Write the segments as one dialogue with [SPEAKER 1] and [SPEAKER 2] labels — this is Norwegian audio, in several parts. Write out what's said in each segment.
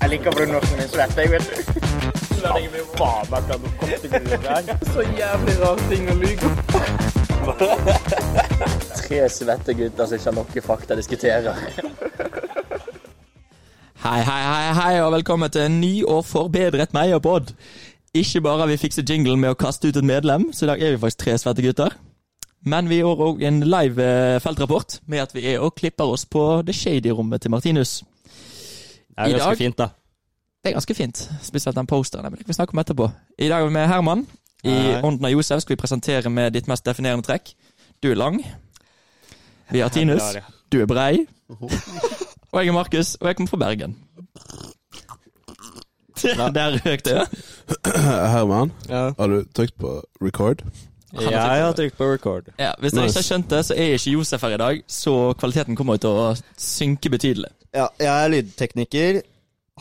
[SPEAKER 1] jeg liker brunnorsen min slett, jeg, vet du.
[SPEAKER 2] Faen, jeg kan noe godt i det der.
[SPEAKER 3] Så jævlig rar ting å lyve om.
[SPEAKER 1] Tre svette gutter som ikke har noe fakta diskuterer.
[SPEAKER 4] Hei, hei, hei, hei, og velkommen til en ny og forbedret meg og Pod. Ikke bare har vi fikset jinglen med å kaste ut et medlem, så i dag er vi faktisk tre svette gutter. Men vi gjør òg en live eh, feltrapport med at vi er og klipper oss på det shady rommet til Martinus.
[SPEAKER 2] Det er
[SPEAKER 4] I dag-
[SPEAKER 2] ganske fint, da.
[SPEAKER 4] Det er ganske fint, spesielt den posteren. Men det kan vi snakke om etterpå. I dag er vi med Herman. I
[SPEAKER 2] Hei.
[SPEAKER 4] Ånden av Josef skal vi presentere med ditt mest definerende trekk. Du er lang. Vi har Tinus.
[SPEAKER 2] Ja, ja.
[SPEAKER 4] Du er brei. Og jeg er Markus, og jeg kommer fra Bergen. Der der røk det.
[SPEAKER 5] Herman,
[SPEAKER 2] Ja.
[SPEAKER 5] har du trykt på record?
[SPEAKER 4] har
[SPEAKER 2] Ja, jeg har trykt på record.
[SPEAKER 4] Ja, hvis dere
[SPEAKER 5] Nice.
[SPEAKER 4] ikke har skjønt det, så er ikke Josef her i dag, så kvaliteten kommer til å synke betydelig.
[SPEAKER 6] Ja, jeg er lydtekniker.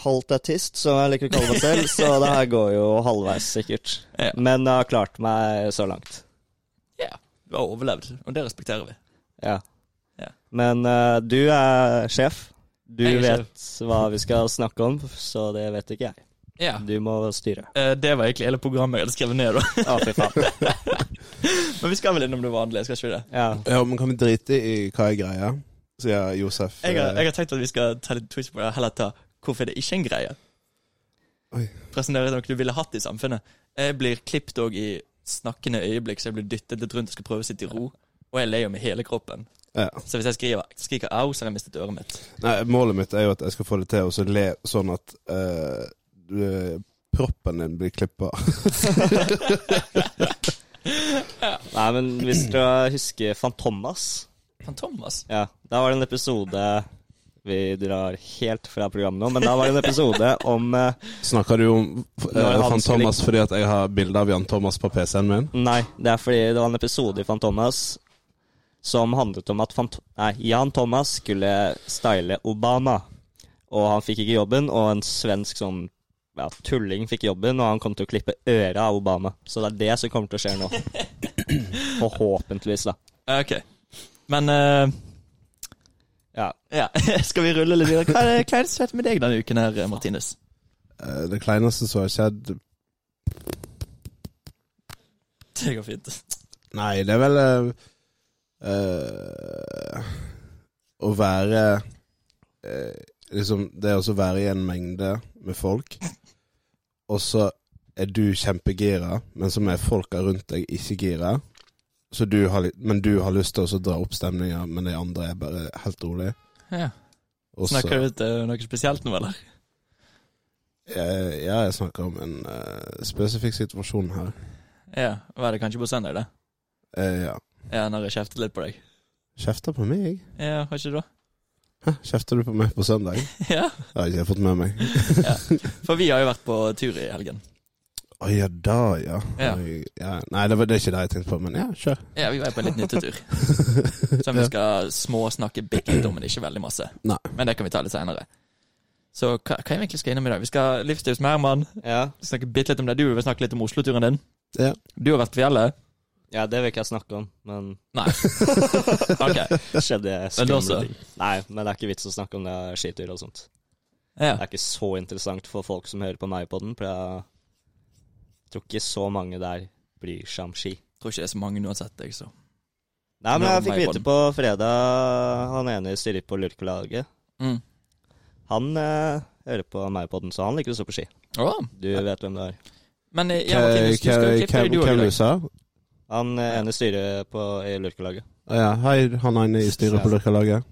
[SPEAKER 6] Halvt autist, som jeg liker å kalle meg selv, så det her går jo halvveis, sikkert.
[SPEAKER 4] Ja.
[SPEAKER 6] Men jeg har klart meg så langt.
[SPEAKER 4] Ja, Du har overlevd, og det respekterer vi.
[SPEAKER 6] Ja.
[SPEAKER 4] Ja.
[SPEAKER 6] Men eh, du er sjef. Du
[SPEAKER 4] Jeg er
[SPEAKER 6] vet hva vi skal snakke om, så det vet ikke jeg.
[SPEAKER 4] Ja,
[SPEAKER 6] Du må styre.
[SPEAKER 4] eh, Det var egentlig hele programmet jeg hadde skrevet ned, da.
[SPEAKER 6] Å, fy faen.
[SPEAKER 4] Men vi skal vel innom det vanlige, skal ikke vi det?
[SPEAKER 6] Ja.
[SPEAKER 5] Ja, men kan vi drite i hva jeg greier? Sier Josef.
[SPEAKER 4] Jeg har, jeg har tenkt at vi skal ta litt twist på det, heller ta hvorfor det ikke er en greie.
[SPEAKER 5] Oi.
[SPEAKER 4] Presentere noe du ville hatt i samfunnet. Jeg blir klippet òg i snakkende øyeblikk, så jeg blir dyttet litt rundt og skal prøve å sitte i ro. Og jeg ler jo med hele kroppen.
[SPEAKER 5] eh, Ja.
[SPEAKER 4] Så hvis jeg skriver, skriker au, så har jeg mistet øret mitt.
[SPEAKER 5] Nei, målet mitt er jo at jeg skal få det til å så le sånn at eh, du- proppen din blir klippa.
[SPEAKER 6] Nei, men hvis dere husker Fantomas
[SPEAKER 4] Fan Thomas.
[SPEAKER 6] Ja, da var det en episode Vi drar helt fra programmet nå, men da var det en episode om eh,
[SPEAKER 5] Snakker du om
[SPEAKER 6] Nå er
[SPEAKER 5] uh,
[SPEAKER 6] han
[SPEAKER 5] Fan
[SPEAKER 6] skulle-
[SPEAKER 5] Thomas fordi at jeg har bilde av Jan Thomas på PC-en min?
[SPEAKER 6] Nei, det er fordi det var en episode i Fan Thomas som handlet om at Fant nei, Jan Thomas skulle style Obama. Og han fikk ikke jobben, og en svensk sånn ja, tulling fikk jobben, og han kom til å klippe øret av Obama. Så det er det som kommer til å skje nå. Forhåpentligvis, da.
[SPEAKER 4] Ok. Men eh,
[SPEAKER 6] Ja.
[SPEAKER 4] ja, skal vi rulle litt videre? Hva er det kleineste som har skjedd med deg denne uken her, Martinus?
[SPEAKER 5] Eh, det kleineste som har skjedd
[SPEAKER 4] Det går fint.
[SPEAKER 5] Nei, det er vel eh, eh, Å være eh, Liksom, det å så være i en mengde med folk, og så er du kjempegira, men så er folka rundt deg ikke gira. Så du har, litt- men du har lyst til å så dra opp stemninga, men de andre er bare helt rolig.
[SPEAKER 4] Ja.
[SPEAKER 5] Og så-
[SPEAKER 4] Snakker du ut eh, noe spesielt nå, eller?
[SPEAKER 5] Eh, ja, jeg snakker om en eh, spesifikk situasjon her.
[SPEAKER 4] Ja. Var det kanskje på søndag, det?
[SPEAKER 5] Eh, ja.
[SPEAKER 4] Ja, når jeg kjeftet litt på deg.
[SPEAKER 5] Kjefter på meg?
[SPEAKER 4] Ja, har ikke du det?
[SPEAKER 5] Hæ? Kjefter du på meg på søndag?
[SPEAKER 4] Ja.
[SPEAKER 5] Det har ikke jeg fått med meg.
[SPEAKER 4] For vi har jo vært på tur i helgen.
[SPEAKER 5] Å ja, da, ja.
[SPEAKER 4] Ja.
[SPEAKER 5] Oi, ja. Nei, det var det er ikke det jeg tenkte på, men ja, kjør.
[SPEAKER 4] Ja, vi var jo på en liten hyttetur. Som vi skal småsnakke bitte litt om, men ikke veldig masse.
[SPEAKER 5] Nei.
[SPEAKER 4] Men det kan vi ta litt seinere. Så hva, hva er vi egentlig skal innom i dag? Vi skal livsstilt med Herman.
[SPEAKER 6] ja.
[SPEAKER 4] Snakke bitte litt om det. Du vil snakke litt om Oslo-turen din.
[SPEAKER 5] Ja.
[SPEAKER 4] Du har vært på fjellet.
[SPEAKER 6] Ja, det vil ikke jeg snakke om, men
[SPEAKER 4] Nei. Ok.
[SPEAKER 6] det skjedde
[SPEAKER 4] Men
[SPEAKER 6] skumle
[SPEAKER 4] også-
[SPEAKER 6] ting. Nei, men det er ikke vits å snakke om det er skitur og sånt.
[SPEAKER 4] Ja.
[SPEAKER 6] Det er ikke så interessant for folk som hører på meg på den, for jeg tror ikke så mange der bryr seg om ski.
[SPEAKER 4] Jeg tror ikke det er så mange uansett, jeg, så.
[SPEAKER 6] Nei, men
[SPEAKER 4] Hører
[SPEAKER 6] jeg
[SPEAKER 4] om
[SPEAKER 6] fikk
[SPEAKER 4] meg på
[SPEAKER 6] vite
[SPEAKER 4] den.
[SPEAKER 6] på fredag han ene i styret på Lurkelaget.
[SPEAKER 4] Mm.
[SPEAKER 6] Han eh, hører på meg på den, så han liker å stå på ski.
[SPEAKER 4] Åh.
[SPEAKER 6] Du vet hvem det er.
[SPEAKER 4] Men eh, ja, Martinus, du skal jo klippe deg, du
[SPEAKER 5] Hvem
[SPEAKER 4] òg.
[SPEAKER 5] du sa?
[SPEAKER 6] Han eh, ene i styret på, i Lurkelaget.
[SPEAKER 5] Å Ja, hei, han er inne i styret på Lurkalaget.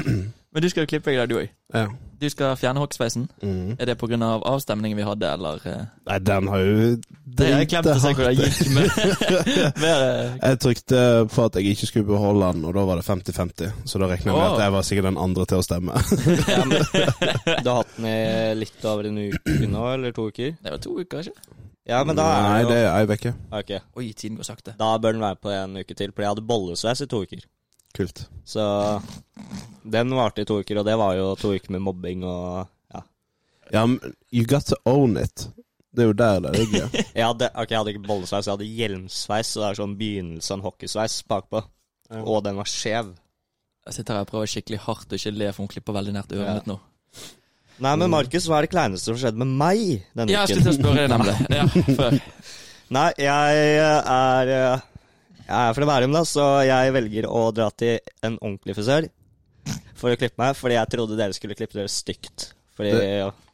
[SPEAKER 4] Men du skal jo klippe deg, der, du òg.
[SPEAKER 5] Ja.
[SPEAKER 4] Du skal fjerne hoggsveisen.
[SPEAKER 5] Mm.
[SPEAKER 4] Er det pga. Av avstemningen vi hadde, eller? eh?
[SPEAKER 5] Nei, den har jo
[SPEAKER 4] Det, jeg glemte å se
[SPEAKER 5] hardt.
[SPEAKER 4] hvordan det gikk med, med eh,
[SPEAKER 5] Jeg trykte på at jeg ikke skulle beholde den, og da var det 50-50. Så da regner jeg med
[SPEAKER 4] Å.
[SPEAKER 5] at jeg var sikkert den andre til å stemme.
[SPEAKER 6] Ja, men, du har hatt den i litt over en uke nå, eller to uker?
[SPEAKER 4] Det var to uker, ikke?
[SPEAKER 6] Ja, men da
[SPEAKER 5] Nei,
[SPEAKER 6] er
[SPEAKER 5] det
[SPEAKER 6] det jo
[SPEAKER 5] er ei uke.
[SPEAKER 6] Ok,
[SPEAKER 4] Oi, tiden går sakte.
[SPEAKER 6] Da bør den være på en uke til, for jeg hadde bollesveis i to uker.
[SPEAKER 5] Kult.
[SPEAKER 6] Så den varte i to uker, og det var jo to uker med mobbing og ja.
[SPEAKER 5] Ja, men you got to own it. Det er jo der det ligger.
[SPEAKER 6] Jeg hadde, ok, jeg hadde ikke bollesveis, jeg hadde hjelmsveis, så det er sånn begynnelse av en hockeysveis bakpå. Og den var skjev.
[SPEAKER 4] Jeg sitter her og prøver skikkelig hardt å ikke le, for hun klipper veldig nært øret
[SPEAKER 6] Ja.
[SPEAKER 4] mitt nå.
[SPEAKER 6] Nei, men Markus, hva er det kleineste som skjedde med meg denne
[SPEAKER 4] Ja, jeg skulle til
[SPEAKER 6] uken?
[SPEAKER 4] å spørre deg, nemlig. Ja, før.
[SPEAKER 6] Nei, jeg er eh, Jeg er fra Bærum, da, så jeg velger å dra til en ordentlig frisør for å klippe meg, fordi jeg trodde dere skulle klippe dere stygt. Fordi
[SPEAKER 5] Det-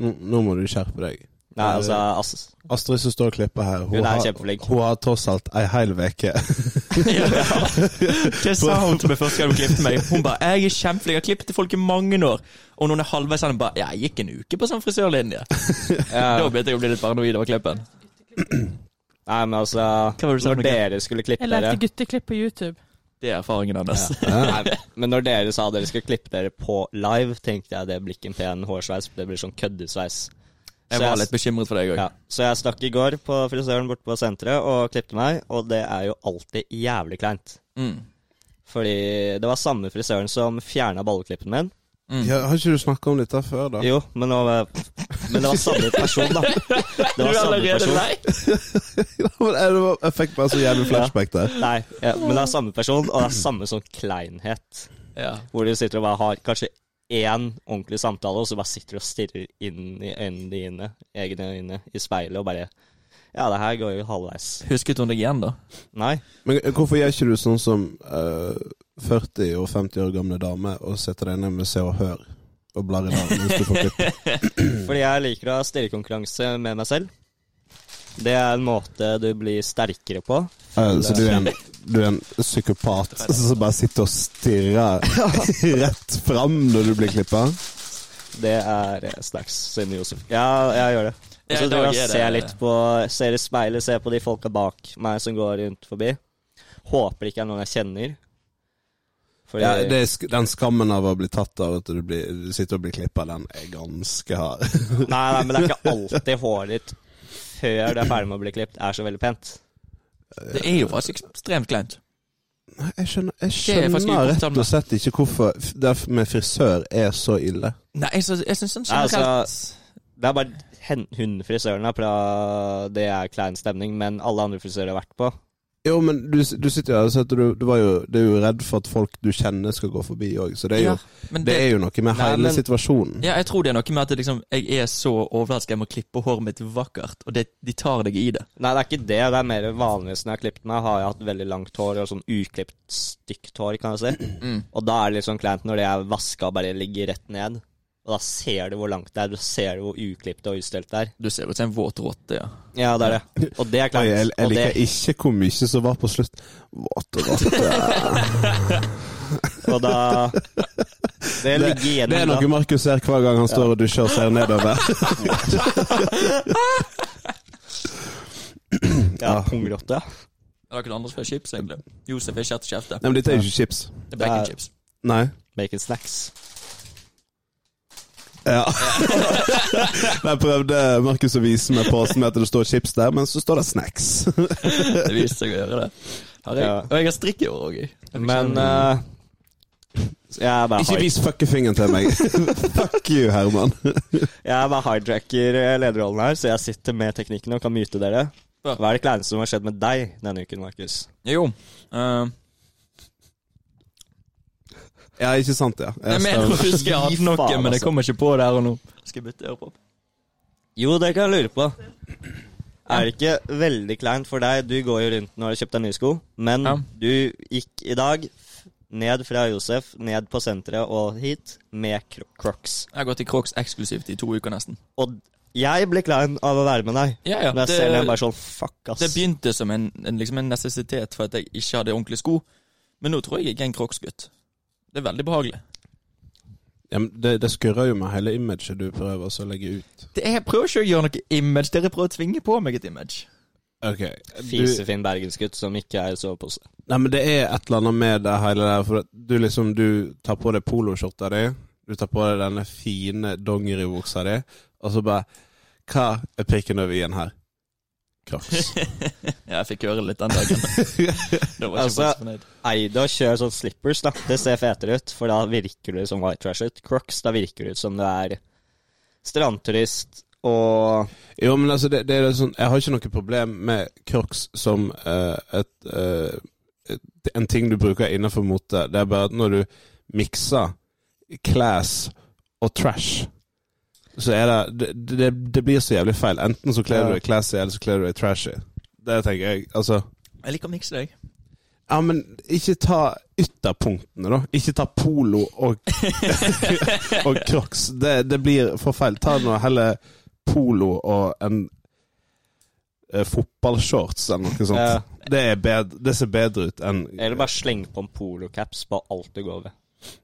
[SPEAKER 5] Nå, nå må du skjerpe deg.
[SPEAKER 6] Nei, altså, ass,
[SPEAKER 5] Astrid som står og klipper her, hun,
[SPEAKER 6] Hun er
[SPEAKER 5] har,
[SPEAKER 6] kjempeflink.
[SPEAKER 5] hun har tross alt ei hel uke.
[SPEAKER 4] Hva sa hun til meg første gang hun klippte meg? Hun bare 'Jeg er kjempeflink, jeg har klippet til folk i mange år'. Og når hun er halvveis, han bare 'Jeg gikk en uke på sånn frisørlinje'. Da begynte jeg å bli litt paranoid over klippen.
[SPEAKER 6] Nei, men altså
[SPEAKER 4] Hva var det du sa for
[SPEAKER 6] Når
[SPEAKER 4] noe?
[SPEAKER 6] dere skulle klippe
[SPEAKER 7] Jeg
[SPEAKER 6] dere
[SPEAKER 7] lærte gutteklipp på YouTube.
[SPEAKER 4] Det er erfaringen hans.
[SPEAKER 6] Nei, Men når dere sa dere skulle klippe dere på live, tenkte jeg det blir ikke en pen hårsveis, det blir sånn køddesveis.
[SPEAKER 4] Jeg
[SPEAKER 6] Så
[SPEAKER 4] var
[SPEAKER 6] jeg-
[SPEAKER 4] litt bekymret for deg òg.
[SPEAKER 6] Ja, så jeg stakk i går på frisøren borte på senteret og klippte meg, og det er jo alltid jævlig kleint.
[SPEAKER 4] Mm.
[SPEAKER 6] Fordi det var samme frisøren som fjerna balleklippen min.
[SPEAKER 5] Ja, har ikke du snakka om dette før, da?
[SPEAKER 6] Mm. Jo, men, nå, men det var samme person, da. Det
[SPEAKER 4] Du
[SPEAKER 6] var
[SPEAKER 4] er
[SPEAKER 6] samme
[SPEAKER 4] allerede
[SPEAKER 6] person.
[SPEAKER 4] lei?
[SPEAKER 5] Men jeg, jeg fikk bare så jævlig flashback der.
[SPEAKER 6] Nei, ja, men det er samme person, og det er samme sånn kleinhet.
[SPEAKER 4] Ja.
[SPEAKER 6] Hvor du sitter og bare har kanskje én ordentlig samtale, og så bare sitter du og stirrer inn i øynene dine, egne øyne, i speilet, og bare Ja, det her går jo halvveis.
[SPEAKER 4] Husket hun deg igjen, da?
[SPEAKER 6] Nei.
[SPEAKER 5] Men hvorfor gjør ikke du sånn som eh, 40 og 50 år gamle dame og setter deg ned med Se og Hør og blar i navn mens du får klipp? Mm.
[SPEAKER 6] Fordi jeg liker å ha stirrekonkurranse med meg selv. Det er en måte du blir sterkere på.
[SPEAKER 5] Eh, så du er, en, du er en psykopat som bare sitter og stirrer rett fram når du blir klippa?
[SPEAKER 6] Det er eh, snacks, siden Josef. Ja, jeg gjør det. Og
[SPEAKER 4] Ja,
[SPEAKER 6] så
[SPEAKER 4] i dag er
[SPEAKER 6] driver jeg og
[SPEAKER 4] Altså, det-
[SPEAKER 6] ser litt på Ser i speilet, ser på de folka bak meg som går rundt forbi. Håper ikke det er noen jeg kjenner. Fordi
[SPEAKER 5] Ja, det er sk den skammen av å bli tatt av at du, blir, du sitter og blir klippa, den er ganske hard.
[SPEAKER 6] nei, nei, men det er ikke alltid håret ditt før du er ferdig med å bli klippet, er så veldig pent.
[SPEAKER 4] Det er jo faktisk ekstremt kleint.
[SPEAKER 5] Nei, Jeg skjønner,
[SPEAKER 4] Det
[SPEAKER 5] jeg
[SPEAKER 4] er faktisk
[SPEAKER 5] skjønner rett
[SPEAKER 4] ukomfortabelt.
[SPEAKER 5] og slett ikke hvorfor f- det med frisør er så ille.
[SPEAKER 4] Nei, jeg syns jeg syns sånn
[SPEAKER 6] Nei, altså-
[SPEAKER 4] generelt
[SPEAKER 6] Det er bare hen, hun frisøren er fra Det er klein stemning, men alle andre frisører jeg har vært på
[SPEAKER 5] Jo, men du, s- du sitter jo der og sier at du, du, var jo, du er jo redd for at folk du kjenner skal gå forbi òg, så det er jo,
[SPEAKER 4] Ja, men
[SPEAKER 5] det
[SPEAKER 4] det-
[SPEAKER 5] er jo noe med
[SPEAKER 6] Nei,
[SPEAKER 5] hele
[SPEAKER 6] men-
[SPEAKER 5] situasjonen.
[SPEAKER 4] Ja, jeg tror det er noe med at det liksom, jeg er så overrasket jeg må klippe håret mitt vakkert, og det, de tar deg i det.
[SPEAKER 6] Nei, det er ikke det. Det er mer vanligvis når jeg har klippet meg, har jeg hatt veldig langt hår og sånn uklipt, stygt hår, kan jeg si.
[SPEAKER 5] Mm.
[SPEAKER 6] Og da er det litt sånn kleint når det er vaska og bare ligger rett ned. Og da ser du hvor langt det er, du ser hvor uklipt og ustelt det er.
[SPEAKER 4] Du ser ut som en våt rotte, ja.
[SPEAKER 6] Ja, det er det. Og det er
[SPEAKER 5] Oi,
[SPEAKER 6] kleint.
[SPEAKER 5] jeg, jeg
[SPEAKER 6] og det,
[SPEAKER 5] liker ikke hvor mye som var på slutt. What the fuck?
[SPEAKER 6] og da Det ligger igjen
[SPEAKER 5] Det er noe
[SPEAKER 6] da.
[SPEAKER 5] Markus ser hver gang han står og dusjer og ser nedover.
[SPEAKER 6] Ja, pungrotte.
[SPEAKER 4] Er det noen andre som er chips, egentlig? Josef er kjært kjefte.
[SPEAKER 5] Nei, men dette er jo ikke chips.
[SPEAKER 4] Det er bacon chips.
[SPEAKER 5] Nei.
[SPEAKER 6] Bacon snacks.
[SPEAKER 5] Ja. Der prøvde Markus å vise meg posen med at det står chips der, men så står det snacks.
[SPEAKER 4] Det viste seg å gjøre det. Har jeg,
[SPEAKER 6] Ja.
[SPEAKER 4] og jeg har strikk i år òg. sånn
[SPEAKER 6] Men eh, jeg bare
[SPEAKER 5] Ikke
[SPEAKER 6] hard-
[SPEAKER 5] vis fuckefingeren til meg. Fuck you, Herman.
[SPEAKER 6] Jeg bare hijacker eh, lederrollen her, så jeg sitter med teknikken og kan mute dere.
[SPEAKER 4] Ja.
[SPEAKER 6] Hva er det kleineste som har skjedd med deg denne uken, Markus?
[SPEAKER 4] Jo. eh,
[SPEAKER 5] Ja, ikke sant, ja.
[SPEAKER 4] jeg mener å
[SPEAKER 5] står-
[SPEAKER 4] huske jeg hadde
[SPEAKER 6] Fy
[SPEAKER 4] noe,
[SPEAKER 6] faen,
[SPEAKER 4] men jeg
[SPEAKER 6] altså.
[SPEAKER 4] kommer ikke på det her og nå. Skal jeg bytte ørepop?
[SPEAKER 6] Jo, det kan jeg lure på. Er det ikke veldig kleint for deg? Du går jo rundt nå og har kjøpt deg nye sko, men
[SPEAKER 4] Ja.
[SPEAKER 6] du gikk i dag ned fra Josef, ned på senteret og hit med cro- crocs.
[SPEAKER 4] Jeg har gått i Crocs eksklusivt i to uker nesten.
[SPEAKER 6] Og jeg ble klein av å være med deg.
[SPEAKER 4] Ja, ja.
[SPEAKER 6] Når jeg
[SPEAKER 4] Det-
[SPEAKER 6] ser ned, bare sånn fuck, ass.
[SPEAKER 4] Det begynte som en, en, liksom en necessitet for at jeg ikke hadde ordentlige sko, men nå tror jeg jeg er en Crocs-gutt. Det er veldig behagelig.
[SPEAKER 5] Ja, men det, det skurrer jo med hele imaget du prøver også å legge ut.
[SPEAKER 4] Det er, jeg prøver ikke å gjøre noe image, dere prøver å tvinge på meg et image.
[SPEAKER 5] Ok. Du,
[SPEAKER 6] Fisefin bergensgutt som ikke er i sovepose.
[SPEAKER 5] nei, men det er et eller annet med det hele der, for at du liksom Du tar på deg poloskjorta di, du tar på deg denne fine dongeribuksa di, og så bare Hva er prikken over i-en her? Crocs.
[SPEAKER 4] Ja, jeg fikk høre litt den dagen. Da var jeg ikke
[SPEAKER 6] Altså,
[SPEAKER 4] faktisk fornøyd.
[SPEAKER 6] Eida kjører sånn slippers, da. Det ser fetere ut, for da virker du som white trash ut. Crocs, da virker du ut som du er strandturist og
[SPEAKER 5] Jo, men altså, det, det er jo sånn Jeg har ikke noe problem med Crocs som eh, et, eh, et En ting du bruker innenfor mote. Det er bare at når du mikser class og trash, så er det det, det det blir så jævlig feil. Enten så kler
[SPEAKER 6] Ja.
[SPEAKER 5] du deg classy, eller så kler du deg trashy. Det tenker jeg. Altså
[SPEAKER 4] Jeg liker å mikse deg.
[SPEAKER 5] Ja, men ikke ta ytterpunktene, da. Ikke ta polo og, og crocs. Det, det blir for feil. Ta nå heller polo og en eh, fotballshorts eller noe sånt.
[SPEAKER 6] Ja.
[SPEAKER 5] Det, er bed- det ser bedre ut enn
[SPEAKER 6] eh, Eller bare sleng på en polocaps på alt du går ved.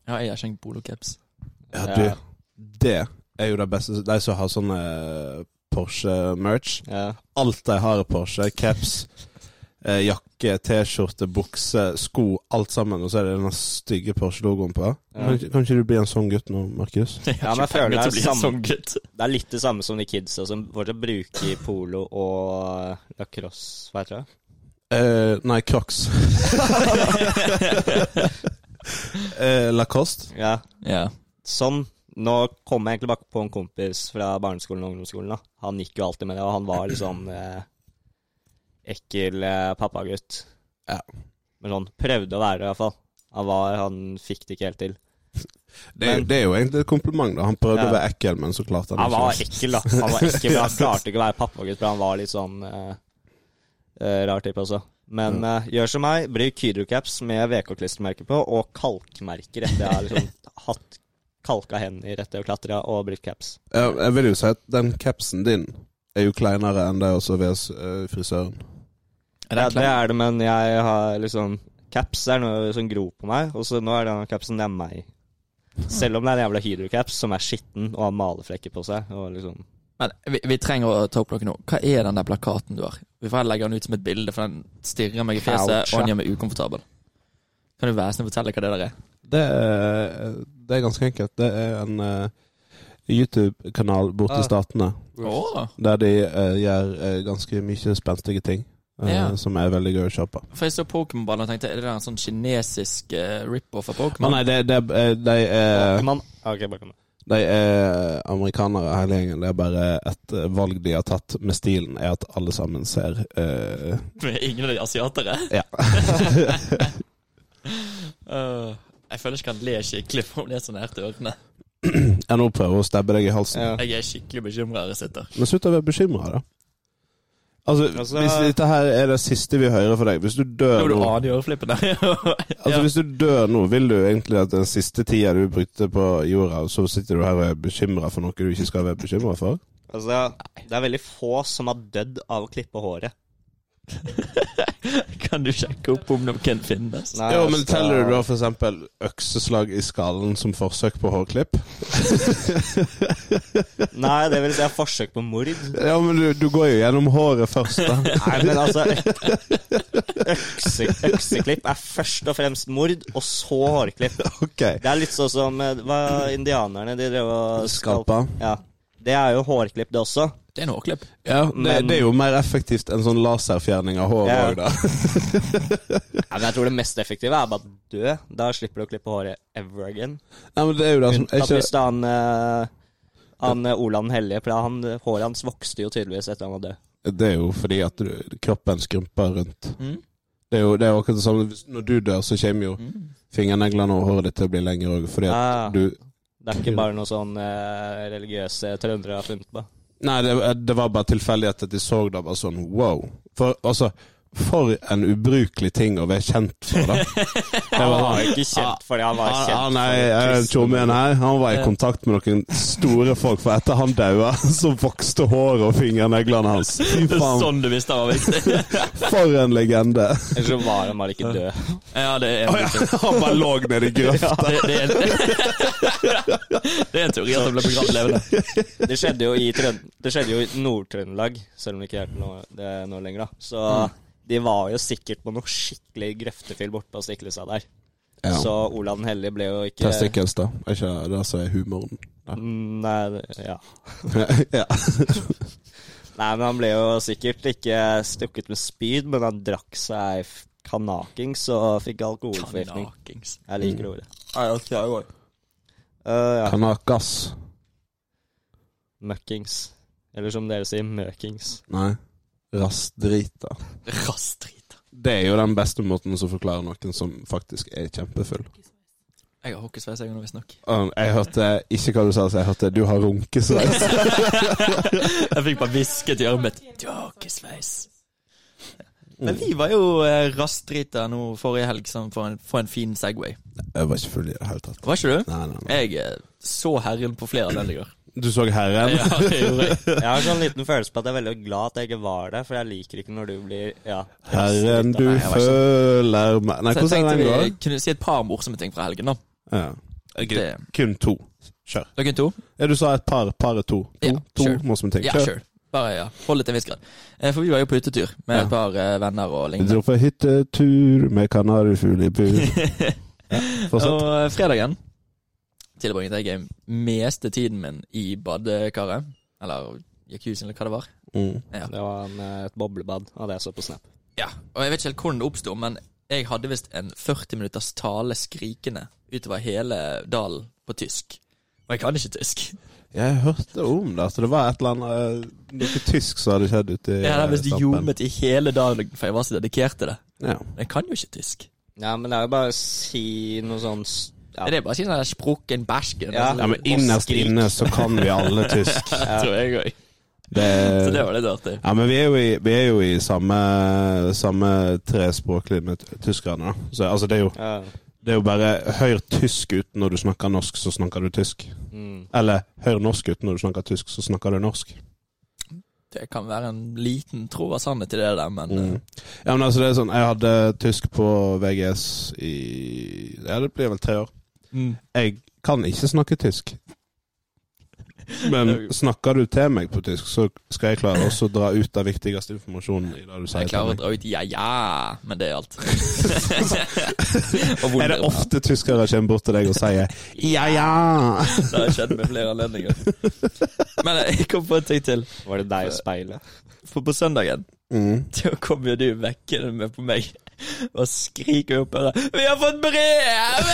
[SPEAKER 4] Ja, jeg har ikke en polocaps.
[SPEAKER 5] Ja,
[SPEAKER 6] Ja.
[SPEAKER 5] du. Det er jo det beste. De som har sånne Porsche-merch.
[SPEAKER 6] Ja.
[SPEAKER 5] Alt de har er Porsche. Caps, eh, jakke, T-skjorte, bukse, sko. Alt sammen. Og så er det den stygge Porsche-logoen på.
[SPEAKER 6] Ja.
[SPEAKER 5] Kan, kan ikke du bli en sånn gutt nå, Markus?
[SPEAKER 4] Jeg
[SPEAKER 6] Ja,
[SPEAKER 4] har
[SPEAKER 6] men jeg
[SPEAKER 4] ikke penger
[SPEAKER 6] føler
[SPEAKER 4] til
[SPEAKER 6] det
[SPEAKER 4] å bli
[SPEAKER 6] er
[SPEAKER 4] en
[SPEAKER 6] samme-
[SPEAKER 4] sånn gutt.
[SPEAKER 6] Det er litt det samme som de kidsa som fortsatt bruker polo og lacrosse, hva heter det?
[SPEAKER 5] Eh, nei, Crocs. Eh, Lacoste.
[SPEAKER 6] Ja.
[SPEAKER 4] Ja.
[SPEAKER 6] Sånn. Nå kommer jeg egentlig bare på en kompis fra barneskolen og ungdomsskolen. da. Han gikk jo alltid med det, og han var litt sånn eh, ekkel eh, pappagutt.
[SPEAKER 5] Ja.
[SPEAKER 6] Men sånn prøvde å være det, iallfall. Han var, han fikk det ikke helt til.
[SPEAKER 5] Det, er-
[SPEAKER 6] Men-
[SPEAKER 5] det er jo egentlig et kompliment. da Han prøvde
[SPEAKER 6] Ja.
[SPEAKER 5] å være ekkel, men så klarte han
[SPEAKER 6] Han
[SPEAKER 5] ikke.
[SPEAKER 6] var ekkel, da. Han var ekkel, men han klarte ikke å være pappagutt, for han var litt sånn eh, eh, rar type også. Men eh, gjør som meg, bruk Hydrocaps med VK-klistremerke på, og kalkmerker etter jeg har liksom hatt kalka hender etter å klatre og brukt caps.
[SPEAKER 5] Ja, jeg vil jo si at den capsen din er jo kleinere enn det også ved eh, frisøren.
[SPEAKER 4] Er
[SPEAKER 6] Ja,
[SPEAKER 4] det
[SPEAKER 6] det
[SPEAKER 4] klart?
[SPEAKER 6] er det, men jeg har liksom Caps er noe som gror på meg, og så nå er den capsen det er meg. Selv om det er en jævla Hydrocaps som er skitten og har maleflekker på seg. Og liksom
[SPEAKER 4] Men vi, vi trenger å ta opp noe nå. Hva er den der plakaten du har? Vi får heller legge den ut som et bilde, for den stirrer meg i fjeset,
[SPEAKER 6] Ouch,
[SPEAKER 4] og
[SPEAKER 6] ja.
[SPEAKER 4] den gjør meg ukomfortabel. Kan du være snill og fortelle hva det der er?
[SPEAKER 5] Det er, det er ganske enkelt. Det er en eh, YouTube-kanal borte
[SPEAKER 6] Ah.
[SPEAKER 5] i Statene der de eh, gjør eh, ganske mye spenstige ting. eh,
[SPEAKER 4] Ja.
[SPEAKER 5] Som er veldig gøy å kjøpe.
[SPEAKER 4] For jeg så Pokémon-ballen og tenkte, er det der en sånn kinesisk eh, rip-off av
[SPEAKER 5] Men
[SPEAKER 4] Pokémon?
[SPEAKER 5] nei, det, det, eh, de er
[SPEAKER 6] man, Ok, bare kom.
[SPEAKER 5] De er amerikanere, hele gjengen. Det er bare et eh, valg de har tatt med stilen, er at alle sammen ser eh,
[SPEAKER 4] Med ingen av de asiatere?
[SPEAKER 5] Ja.
[SPEAKER 4] Øh, jeg føler ikke han ler skikkelig for om det er sånn her til ørene.
[SPEAKER 5] Jeg nå prøver å stabbe deg i halsen.
[SPEAKER 6] Ja.
[SPEAKER 4] Jeg er skikkelig bekymra her jeg sitter.
[SPEAKER 5] Men slutt å være bekymra, da. Altså,
[SPEAKER 6] Altså-
[SPEAKER 5] hvis dette her er det siste vi hører fra deg Hvis du dør
[SPEAKER 4] Nå du
[SPEAKER 5] nå
[SPEAKER 4] aner i øreflippene.
[SPEAKER 5] Altså
[SPEAKER 4] Ja.
[SPEAKER 5] Hvis du dør nå, vil du egentlig at den siste tida du brukte på jorda, så sitter du her og er bekymra for noe du ikke skal være bekymra for?
[SPEAKER 6] Altså, det er veldig få som har dødd av å klippe håret.
[SPEAKER 4] Kan du sjekke opp om noen finnes?
[SPEAKER 6] Nei,
[SPEAKER 5] Jo, men
[SPEAKER 6] altså,
[SPEAKER 5] teller du da for eksempel økseslag i skallen som forsøk på hårklipp?
[SPEAKER 6] Nei, det vil si jeg har forsøk på mord.
[SPEAKER 5] Ja, men du, du går jo gjennom håret først, da.
[SPEAKER 6] Nei, men altså øk- økse, Økseklipp er først og fremst mord, og så hårklipp.
[SPEAKER 5] Ok.
[SPEAKER 6] Det er litt sånn som eh, hva indianerne de drev og
[SPEAKER 5] Skalpa.
[SPEAKER 6] Ja. Det er jo hårklipp, det også.
[SPEAKER 4] Det er en hårklipp.
[SPEAKER 5] Ja, det,
[SPEAKER 6] Men-
[SPEAKER 5] det er jo mer effektivt enn sånn laserfjerning av hår
[SPEAKER 6] Ja.
[SPEAKER 5] òg, da.
[SPEAKER 6] Ja, men jeg tror det mest effektive er bare dø. Da slipper du å klippe håret ever again.
[SPEAKER 5] Nei, men det er jo det som er
[SPEAKER 6] At
[SPEAKER 5] ikke,
[SPEAKER 6] hvis han, eh, han eh, Olav den hellige For da han, håret hans vokste jo tydeligvis etter han var død.
[SPEAKER 5] Det er jo fordi at du, kroppen skrumper rundt.
[SPEAKER 4] Mm.
[SPEAKER 5] Det er jo det er jo akkurat det samme. Hvis- Når du dør, så kommer jo
[SPEAKER 4] mm.
[SPEAKER 5] fingerneglene og håret ditt til å bli lengre òg, fordi at
[SPEAKER 6] Ah,
[SPEAKER 5] du
[SPEAKER 6] det er ikke bare noe sånn eh, religiøse trøndere har funnet på.
[SPEAKER 5] Nei, det, det var bare tilfeldig at de så det bare sånn wow. For altså For en ubrukelig ting å være kjent for, da. Det
[SPEAKER 6] Han
[SPEAKER 5] var
[SPEAKER 6] var
[SPEAKER 5] sånn,
[SPEAKER 6] ikke kjent fordi han var
[SPEAKER 5] Han,
[SPEAKER 6] kjent
[SPEAKER 5] han,
[SPEAKER 6] for
[SPEAKER 5] er, er
[SPEAKER 6] kristen-
[SPEAKER 5] tjommien her, han var i kontakt med noen store folk, for etter han daua, så vokste håret og fingerneglene hans. Fy
[SPEAKER 4] Det er
[SPEAKER 5] faen,
[SPEAKER 4] sånn du visste det var viktig.
[SPEAKER 5] for en legende!
[SPEAKER 6] Eller så var han bare ikke død.
[SPEAKER 4] Ja, det er en viktig.
[SPEAKER 5] Han bare lå nede i grøfta.
[SPEAKER 4] Det, det, er en, det er en teori at han ble begravd levende.
[SPEAKER 6] Det skjedde jo i, Trøn- det skjedde jo i Nord-Trøndelag, selv om det ikke er noe, det er noe lenger, da. Så de var jo sikkert på noe skikkelig grøftefyll borte på Stiklestad der. Så
[SPEAKER 5] Ja.
[SPEAKER 6] Olav den hellige ble jo ikke
[SPEAKER 5] Testicles, da. Er ikke det det som er humoren? Ja.
[SPEAKER 6] Mm, Nei, det- ja.
[SPEAKER 5] ja.
[SPEAKER 6] Nei, men han ble jo sikkert ikke stukket med spyd, men han drakk seg f- kanakings og fikk alkoholforgiftning.
[SPEAKER 4] Kanakings.
[SPEAKER 6] Jeg liker det ordet.
[SPEAKER 2] jeg òg.
[SPEAKER 6] Øh, ja.
[SPEAKER 5] Kanakas.
[SPEAKER 6] Møkkings. Eller som dere sier, møkings.
[SPEAKER 5] Nei. Rassdrita.
[SPEAKER 4] Rastrit.
[SPEAKER 5] Det er jo den beste måten å forklare noen som faktisk er kjempefull.
[SPEAKER 4] Jeg har hockeysveis, jeg nå, visstnok.
[SPEAKER 5] Um, jeg hørte ikke hva du sa, så jeg hørte 'du har runkesveis'.
[SPEAKER 4] Jeg fikk bare hvisket i øret mitt. Du har hockeysveis. Men vi var jo eh, rastrita nå forrige helg sånn, for, en, for en fin Segway.
[SPEAKER 5] Jeg var ikke full i det hele tatt.
[SPEAKER 4] Var ikke du?
[SPEAKER 5] Nei, nei, nei.
[SPEAKER 4] Jeg eh, så herren på flere anledninger.
[SPEAKER 5] Du så herren?
[SPEAKER 4] Ja, det gjorde jeg.
[SPEAKER 6] Jeg har sånn liten følelse på at jeg er veldig glad at jeg ikke var der, for jeg liker ikke når du blir Ja.
[SPEAKER 5] Herren du
[SPEAKER 4] Nei, jeg var ikke-
[SPEAKER 5] føler meg Nei,
[SPEAKER 4] Så jeg
[SPEAKER 5] hvordan er
[SPEAKER 4] tenkte
[SPEAKER 5] den
[SPEAKER 4] vi
[SPEAKER 5] går?
[SPEAKER 4] kunne si et par morsomme ting fra helgen, da.
[SPEAKER 5] Ja.
[SPEAKER 4] Det,
[SPEAKER 5] Kun to. Kjør.
[SPEAKER 4] dere to?
[SPEAKER 5] Ja, du sa et par, par er to. To,
[SPEAKER 4] Ja,
[SPEAKER 5] to
[SPEAKER 4] sure.
[SPEAKER 5] morsomme ting.
[SPEAKER 4] Ja, sure. Bare ja. hold det til en viss grad. Eh, For vi var jo på hyttetur med
[SPEAKER 5] Ja.
[SPEAKER 4] et par eh, venner og
[SPEAKER 5] Vi
[SPEAKER 4] lignende.
[SPEAKER 5] dro på hyttetur med kanarifugl i bur. Ja, fortsett.
[SPEAKER 4] Og eh, fredagen tilbringte jeg meste tiden min i badekaret. Eller jacuzzien, eller hva det var.
[SPEAKER 5] Mm.
[SPEAKER 6] Det var en, eh, et boblebad av det jeg så på Snap.
[SPEAKER 4] Ja, og jeg vet ikke helt hvordan det oppsto, men jeg hadde visst en 40 minutters tale skrikende utover hele dalen på tysk. Og jeg kan ikke tysk.
[SPEAKER 5] Jeg hørte om det. at det var et eller annet eh, Noe tysk som hadde skjedd ute i
[SPEAKER 4] Jeg hadde visst
[SPEAKER 5] eh, Stappen.
[SPEAKER 4] ljomet i hele dalen, for jeg var så dedikert til det.
[SPEAKER 5] Ja.
[SPEAKER 4] Men jeg kan jo ikke tysk.
[SPEAKER 6] Ja, men det er jo bare å si noe sånn s- ja.
[SPEAKER 4] Det er bare å si sånn der 'sprukken bæsken'.
[SPEAKER 6] Ja.
[SPEAKER 5] ja, men innerst inne så kan vi alle tysk.
[SPEAKER 4] tror jeg òg.
[SPEAKER 5] Det,
[SPEAKER 4] Så det var litt artig.
[SPEAKER 5] Ja, men vi er jo i, vi er jo i samme, samme tre språklinje med t- tyskerne. da. Så, altså, det, er jo,
[SPEAKER 6] Ja.
[SPEAKER 5] det er jo bare hør tysk uten når du snakker norsk, så snakker du tysk.
[SPEAKER 6] Mm.
[SPEAKER 5] Eller hør norsk uten når du snakker tysk, så snakker du norsk.
[SPEAKER 4] Det kan være en liten tro av sannhet i det der, men eh,
[SPEAKER 5] Mm. Ja, men altså, det er sånn, jeg hadde tysk på VGS i Ja, det blir vel tre år.
[SPEAKER 4] mm.
[SPEAKER 5] Jeg kan ikke snakke tysk. Men snakker du til meg på tysk, så skal jeg klare også å dra ut den viktigste informasjonen i det du sier
[SPEAKER 4] jeg
[SPEAKER 5] til
[SPEAKER 4] klarer å
[SPEAKER 5] meg.
[SPEAKER 4] dra ut 'ja ja', men det er alt. og
[SPEAKER 5] Er det ofte tyskere kommer bort til deg og sier 'ja ja'?
[SPEAKER 4] Det har skjedd med flere anledninger. Men jeg kom på en ting til.
[SPEAKER 6] Var det deg altså? i speilet?
[SPEAKER 4] For på søndagen
[SPEAKER 5] Mm.
[SPEAKER 4] Da kom jo du vekkende med på meg og skriker opp her 'Vi har fått brev!'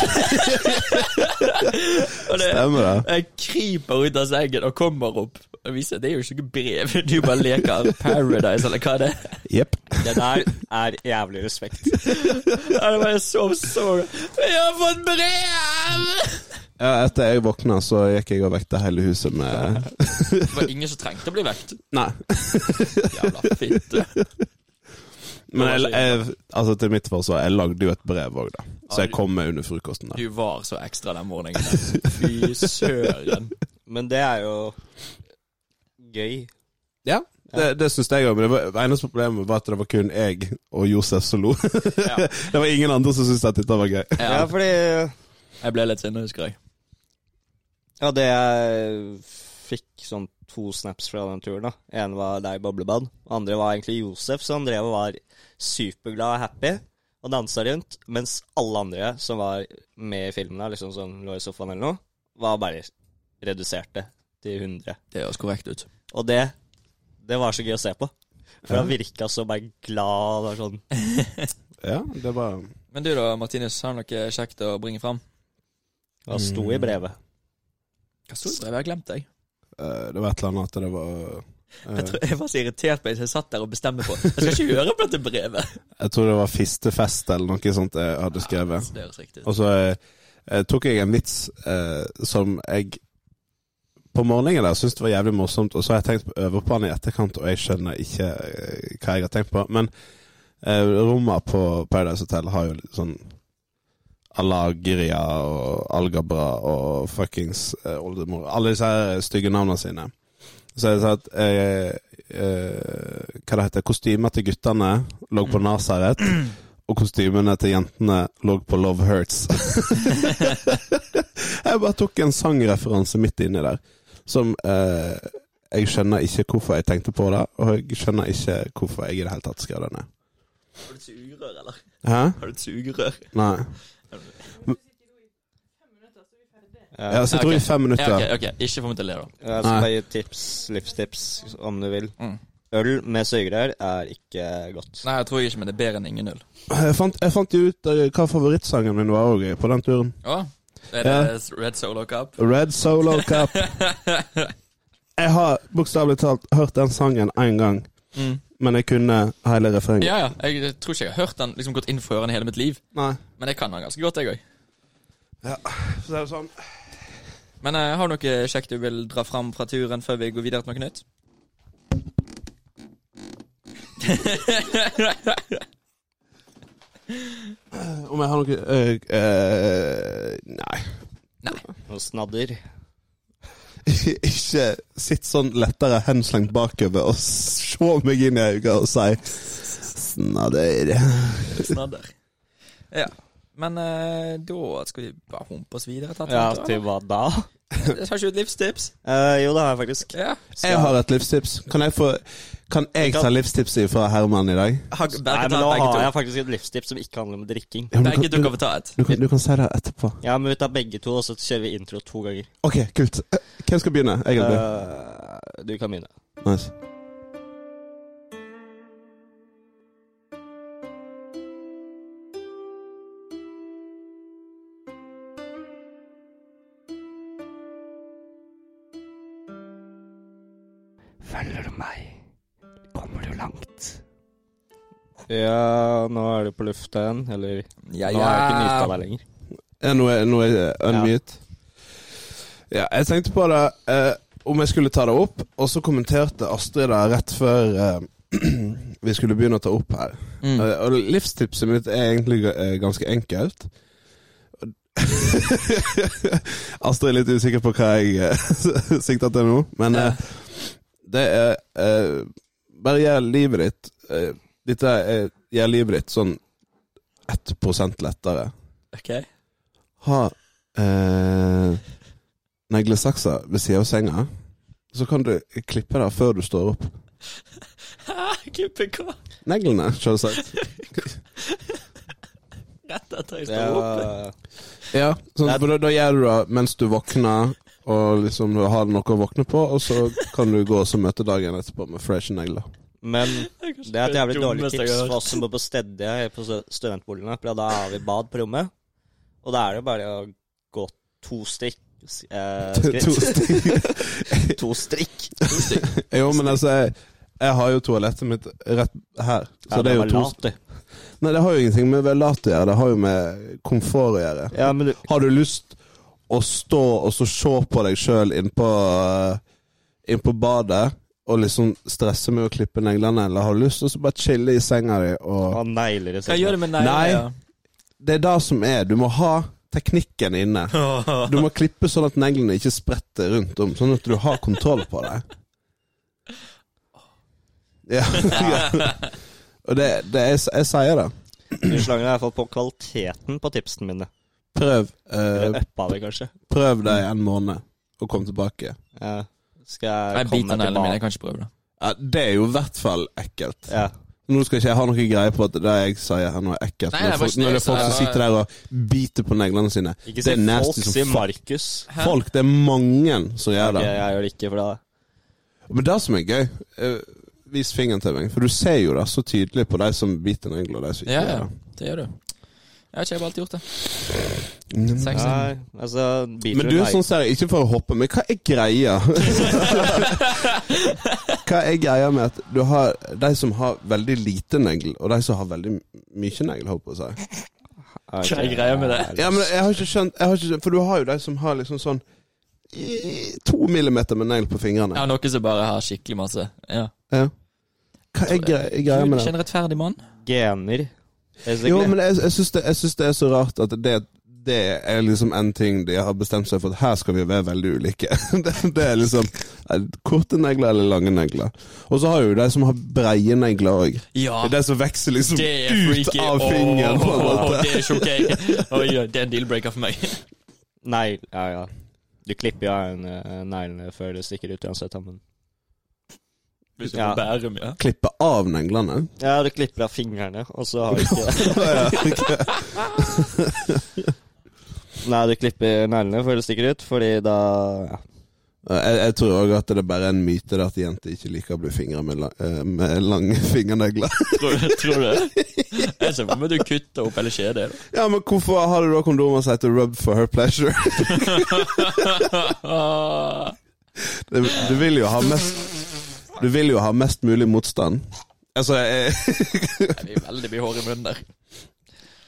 [SPEAKER 4] og det,
[SPEAKER 5] Stemmer det.
[SPEAKER 4] jeg kryper ut av sengen og kommer opp. Og viser at det er jo ikke noe brev. Du bare leker Paradise, eller hva det er.
[SPEAKER 5] Jepp.
[SPEAKER 6] Det der er jævlig respekt.
[SPEAKER 4] Ja, det var jeg så sår. 'Vi har fått brev!'
[SPEAKER 5] Ja, etter jeg våkna, så gikk jeg og vekte hele huset med
[SPEAKER 4] Det var ingen som trengte å bli vekt.
[SPEAKER 5] Nei.
[SPEAKER 4] Jævla fitte.
[SPEAKER 5] Men jeg, jeg, altså til mitt forsvar, jeg lagde jo et brev òg, da. Så jeg kom med under frokosten der.
[SPEAKER 4] Du var så ekstra den morgenen. der. Fy søren.
[SPEAKER 6] Men det er jo gøy.
[SPEAKER 5] Ja, det, det syns jeg òg. Men det, var, det eneste problemet var at det var kun jeg og Josef som lo. det var ingen andre som syntes at dette var gøy.
[SPEAKER 6] Ja,
[SPEAKER 4] Ja,
[SPEAKER 6] fordi
[SPEAKER 4] jeg ble litt sinna, husker jeg.
[SPEAKER 6] Ja, det jeg fikk sånn to snaps fra den turen, da. En var deg i boblebad. Andre var egentlig Josef, som drev og var superglad og happy og dansa rundt. Mens alle andre som var med i filmen, da, liksom som lå i sofaen eller noe, var bare reduserte til 100.
[SPEAKER 4] Det høres korrekt ut.
[SPEAKER 6] Og det det var så gøy å se på. For han virka så bare glad og var sånn
[SPEAKER 5] Ja, det var
[SPEAKER 4] Men du da, Martinus, har du noe kjekt å bringe fram?
[SPEAKER 6] Han sto
[SPEAKER 5] Mm.
[SPEAKER 6] i brevet.
[SPEAKER 4] Hva sto det? i brevet? Jeg har glemt deg.
[SPEAKER 5] eh, Det var et eller annet at det var eh,
[SPEAKER 4] Jeg, tror, jeg var så irritert på det, så jeg satt der og bestemte på Jeg skal ikke høre på dette brevet.
[SPEAKER 5] Jeg tror det var fistefest eller noe sånt jeg hadde skrevet.
[SPEAKER 4] Det høres riktig ut.
[SPEAKER 5] Og så eh, eh, tok jeg en vits eh, som jeg på morgenen der syntes det var jævlig morsomt, og så har jeg tenkt over på den i etterkant, og jeg skjønner ikke eh, hva jeg har tenkt på. Men eh, rommene på Paradise Hotel har jo litt sånn Alagria og Algabra og fuckings eh, oldemor Alle disse her stygge navnene sine. Så jeg sa at eh, eh, Hva det heter Kostymer til guttene lå på Nasaret, og kostymene til jentene lå på Love Hurts. jeg bare tok en sangreferanse midt inni der, som eh, jeg skjønner ikke hvorfor jeg tenkte på det, og jeg skjønner ikke hvorfor jeg i det hele tatt skrev det ned.
[SPEAKER 4] Har du et sugerør, eller?
[SPEAKER 5] Hæ?
[SPEAKER 4] Har du et sugerør?
[SPEAKER 5] Nei. Ja, så jeg tror i fem minutter.
[SPEAKER 4] Ja, ok, ok. Ikke få meg til å le, da.
[SPEAKER 6] Jeg
[SPEAKER 5] Nei.
[SPEAKER 6] skal bare gi tips, livstips, om du vil.
[SPEAKER 4] Mm.
[SPEAKER 6] Øl med sugerør er ikke godt.
[SPEAKER 4] Nei, jeg tror ikke, men det er bedre enn ingen null.
[SPEAKER 5] Jeg fant, jeg fant jo ut eh, hva favorittsangen min var også på den turen.
[SPEAKER 4] Å? Er det Red Solo Cup?
[SPEAKER 5] Red Solo Cup. Jeg har bokstavelig talt hørt den sangen én gang,
[SPEAKER 4] Mm.
[SPEAKER 5] men jeg kunne hele refrenget.
[SPEAKER 4] Ja, ja. Jeg tror ikke jeg har hørt den liksom gått inn for ørene hele mitt liv,
[SPEAKER 5] Nei.
[SPEAKER 4] men jeg kan den ganske godt, jeg òg.
[SPEAKER 5] Så det er jo sånn.
[SPEAKER 4] Men eh, har du noe kjekt du vil dra fram fra turen før vi går videre til noe nytt?
[SPEAKER 5] Om jeg har noe øh, øh, Nei.
[SPEAKER 6] Og snadder.
[SPEAKER 5] Ikke sitt sånn lettere henslengt bakover og se meg inn i øynene og si Snadder.
[SPEAKER 4] Snadder. Ja. Men eh, da skal vi bare humpe oss videre. Tatt,
[SPEAKER 6] Ja, til hva da?
[SPEAKER 4] Har ikke du et livstips?
[SPEAKER 6] Eh, jo, det har jeg faktisk.
[SPEAKER 4] Ja.
[SPEAKER 5] Jeg har et livstips. Kan jeg, få, kan jeg ta livstipset fra Herman i dag?
[SPEAKER 4] Har,
[SPEAKER 6] Nei,
[SPEAKER 4] begge
[SPEAKER 6] men
[SPEAKER 4] ta,
[SPEAKER 6] nå
[SPEAKER 4] begge
[SPEAKER 6] har
[SPEAKER 4] to.
[SPEAKER 6] jeg faktisk et livstips som ikke handler om drikking.
[SPEAKER 5] Ja, men
[SPEAKER 4] Begge
[SPEAKER 5] du,
[SPEAKER 4] to
[SPEAKER 5] kan,
[SPEAKER 4] kan få ta et.
[SPEAKER 5] du, kan, du kan si det etterpå.
[SPEAKER 6] Ja, men vi tar begge to, og så kjører vi intro to ganger.
[SPEAKER 5] OK, kult. Eh, Hvem skal begynne? Jeg eller du?
[SPEAKER 6] Eh, du kan begynne.
[SPEAKER 5] Nice.
[SPEAKER 6] Følger du meg, kommer du langt. Ja, nå er du på lufta igjen. Eller
[SPEAKER 4] Ja,
[SPEAKER 6] Nå har jeg ikke nytt av deg lenger.
[SPEAKER 5] Ja, Eh, nå er, nå er jeg unmute. Ja. jeg tenkte på det eh, om jeg skulle ta det opp, og så kommenterte Astrid det rett før eh, vi skulle begynne å ta opp her.
[SPEAKER 4] Mm.
[SPEAKER 5] Eh, og livstipset mitt er egentlig eh, ganske enkelt. Astrid er litt usikker på hva jeg eh, sikter til nå, men eh, det er eh, Bare gjør livet ditt eh, Dette er, gjør livet ditt sånn 1 lettere
[SPEAKER 4] Ok.
[SPEAKER 5] ha eh, neglesakser ved siden av senga, så kan du klippe det før du står opp.
[SPEAKER 4] Klippe hva?
[SPEAKER 5] Neglene, selvsagt.
[SPEAKER 4] Rett etter jeg
[SPEAKER 6] Det
[SPEAKER 4] står oppe.
[SPEAKER 6] er-
[SPEAKER 5] Ja, sånn, for da, da gjør du det mens du våkner, og liksom du har noe å våkne på, og så kan du gå og så møte dagen etterpå med fresh negler.
[SPEAKER 6] Men det er et jævlig dårlig
[SPEAKER 4] Dummeste jeg
[SPEAKER 6] tips
[SPEAKER 4] har hørt.
[SPEAKER 6] for oss som bor på Stedje, på stu- studentboligene. For da har vi bad på rommet, og da er det bare å gå to strikk eh,
[SPEAKER 5] To
[SPEAKER 6] skritt.
[SPEAKER 5] stykk.
[SPEAKER 6] To strikk.
[SPEAKER 5] Jo, men altså, jeg, jeg har jo toalettet mitt rett her, så
[SPEAKER 6] Ja,
[SPEAKER 5] det er jo
[SPEAKER 6] var
[SPEAKER 5] to
[SPEAKER 6] lat, du.
[SPEAKER 5] Nei, det har jo ingenting med velat å gjøre, det har jo med komfort å gjøre.
[SPEAKER 6] Ja, men du
[SPEAKER 5] Har du lyst å stå og så se på deg sjøl innpå inn på badet og liksom stresse med å klippe neglene, eller har du lyst til å så bare chille i senga di og
[SPEAKER 6] har negler i
[SPEAKER 4] Hva gjør
[SPEAKER 6] sengen.
[SPEAKER 4] du med eh,
[SPEAKER 5] Nei.
[SPEAKER 4] neglene?
[SPEAKER 5] Det er det som er. Du må ha teknikken inne.
[SPEAKER 4] Ja.
[SPEAKER 5] Du må klippe sånn at neglene ikke spretter rundt om, sånn at du har kontroll på det. Ja. Og det, det jeg, jeg sier det.
[SPEAKER 6] Du slanger deg i hvert fall på kvaliteten på tipsene mine.
[SPEAKER 5] Prøv,
[SPEAKER 6] Eller
[SPEAKER 5] eh,
[SPEAKER 6] uppa det, kanskje.
[SPEAKER 5] prøv det i en måned, og kom tilbake.
[SPEAKER 6] Ja. Skal jeg
[SPEAKER 4] Jeg
[SPEAKER 6] komme
[SPEAKER 4] biter
[SPEAKER 6] meg
[SPEAKER 4] neglene mine. Jeg
[SPEAKER 6] tilbake?
[SPEAKER 4] kan ikke prøve det.
[SPEAKER 5] Ja, det er jo i hvert fall ekkelt.
[SPEAKER 6] Ja.
[SPEAKER 5] Nå skal ikke jeg ha noe greie på at det jeg sier her nå er ekkelt.
[SPEAKER 4] Nei, det
[SPEAKER 5] når,
[SPEAKER 4] er
[SPEAKER 5] folk,
[SPEAKER 4] bare
[SPEAKER 5] når det
[SPEAKER 4] snes,
[SPEAKER 5] er folk som
[SPEAKER 4] ja.
[SPEAKER 5] sitter der og biter på neglene sine.
[SPEAKER 6] Ikke
[SPEAKER 5] Det
[SPEAKER 6] si
[SPEAKER 5] er nasty
[SPEAKER 6] folk,
[SPEAKER 5] som
[SPEAKER 6] si
[SPEAKER 5] faen.
[SPEAKER 6] Markus.
[SPEAKER 5] Folk, det er mange som gjør
[SPEAKER 6] Ok,
[SPEAKER 5] det.
[SPEAKER 6] jeg gjør det ikke, for da
[SPEAKER 5] Men det som er gøy eh, Vis fingeren til meg, for du ser jo det så tydelig på de som biter negler, og de som ikke
[SPEAKER 4] Ja, ja.
[SPEAKER 5] gjør det.
[SPEAKER 4] Det gjør du. Jeg har ikke jeg har alltid gjort det.
[SPEAKER 5] Mm.
[SPEAKER 4] Sexy.
[SPEAKER 6] Nei, altså biter
[SPEAKER 5] Men du,
[SPEAKER 6] negler.
[SPEAKER 5] sånn ser jeg, ikke for å hoppe, men hva er greia? hva er greia med at du har de som har veldig lite negl, og de som har veldig mye negl, holdt på å si?
[SPEAKER 6] Ok.
[SPEAKER 4] Hva er greia med det?
[SPEAKER 5] Ja, men jeg har ikke skjønt, jeg har ikke skjønt For du har jo de som har liksom sånn i- To millimeter med negl på
[SPEAKER 4] Jeg
[SPEAKER 5] fingrene.
[SPEAKER 4] har noe som bare har skikkelig masse. Ja.
[SPEAKER 5] Ja. Hva er gre- greia
[SPEAKER 4] Du
[SPEAKER 5] med
[SPEAKER 4] er ikke
[SPEAKER 5] det?
[SPEAKER 4] en rettferdig mann.
[SPEAKER 6] Gener. basically.
[SPEAKER 5] Jo, men jeg, jeg, syns det, jeg syns det er så rart at det, det er liksom en ting de har bestemt seg for at her skal vi være veldig ulike. Det, det er liksom eh, korte negler eller lange negler. Og så har jo de som har breie negler òg.
[SPEAKER 4] Ja.
[SPEAKER 5] Det er de som vokser liksom
[SPEAKER 4] Det er
[SPEAKER 5] ut
[SPEAKER 4] freaky.
[SPEAKER 5] av fingeren. på en
[SPEAKER 4] Åh,
[SPEAKER 5] måte.
[SPEAKER 4] det er ikke ok. Oi, oi, det er en deal-breaker for meg.
[SPEAKER 6] Nei, ja, ja. Du klipper jo av en, eh, neglene før det stikker ut uansett. da, Men...
[SPEAKER 4] Hvis du
[SPEAKER 6] Ja.
[SPEAKER 4] får Bærum, ja.
[SPEAKER 5] Klippe av neglene.
[SPEAKER 6] Ja, du klipper av fingrene, og så har du ikke Nei, du klipper neglene før det stikker ut, fordi da ja.
[SPEAKER 5] Jeg, jeg tror òg at det er bare en myte det at jenter ikke liker å bli fingra med, la, eh, med lange fingernegler.
[SPEAKER 4] Tror, tror du det? Jeg ser for meg du kutter opp hele kjedet. da.
[SPEAKER 5] ja, men hvorfor har du da kondomer som heter 'rub for her pleasure'?
[SPEAKER 4] Ah.
[SPEAKER 5] Du, du vil jo ha mest Du vil jo ha mest mulig motstand. Altså, jeg,
[SPEAKER 4] Det er veldig mye hår i munnen der.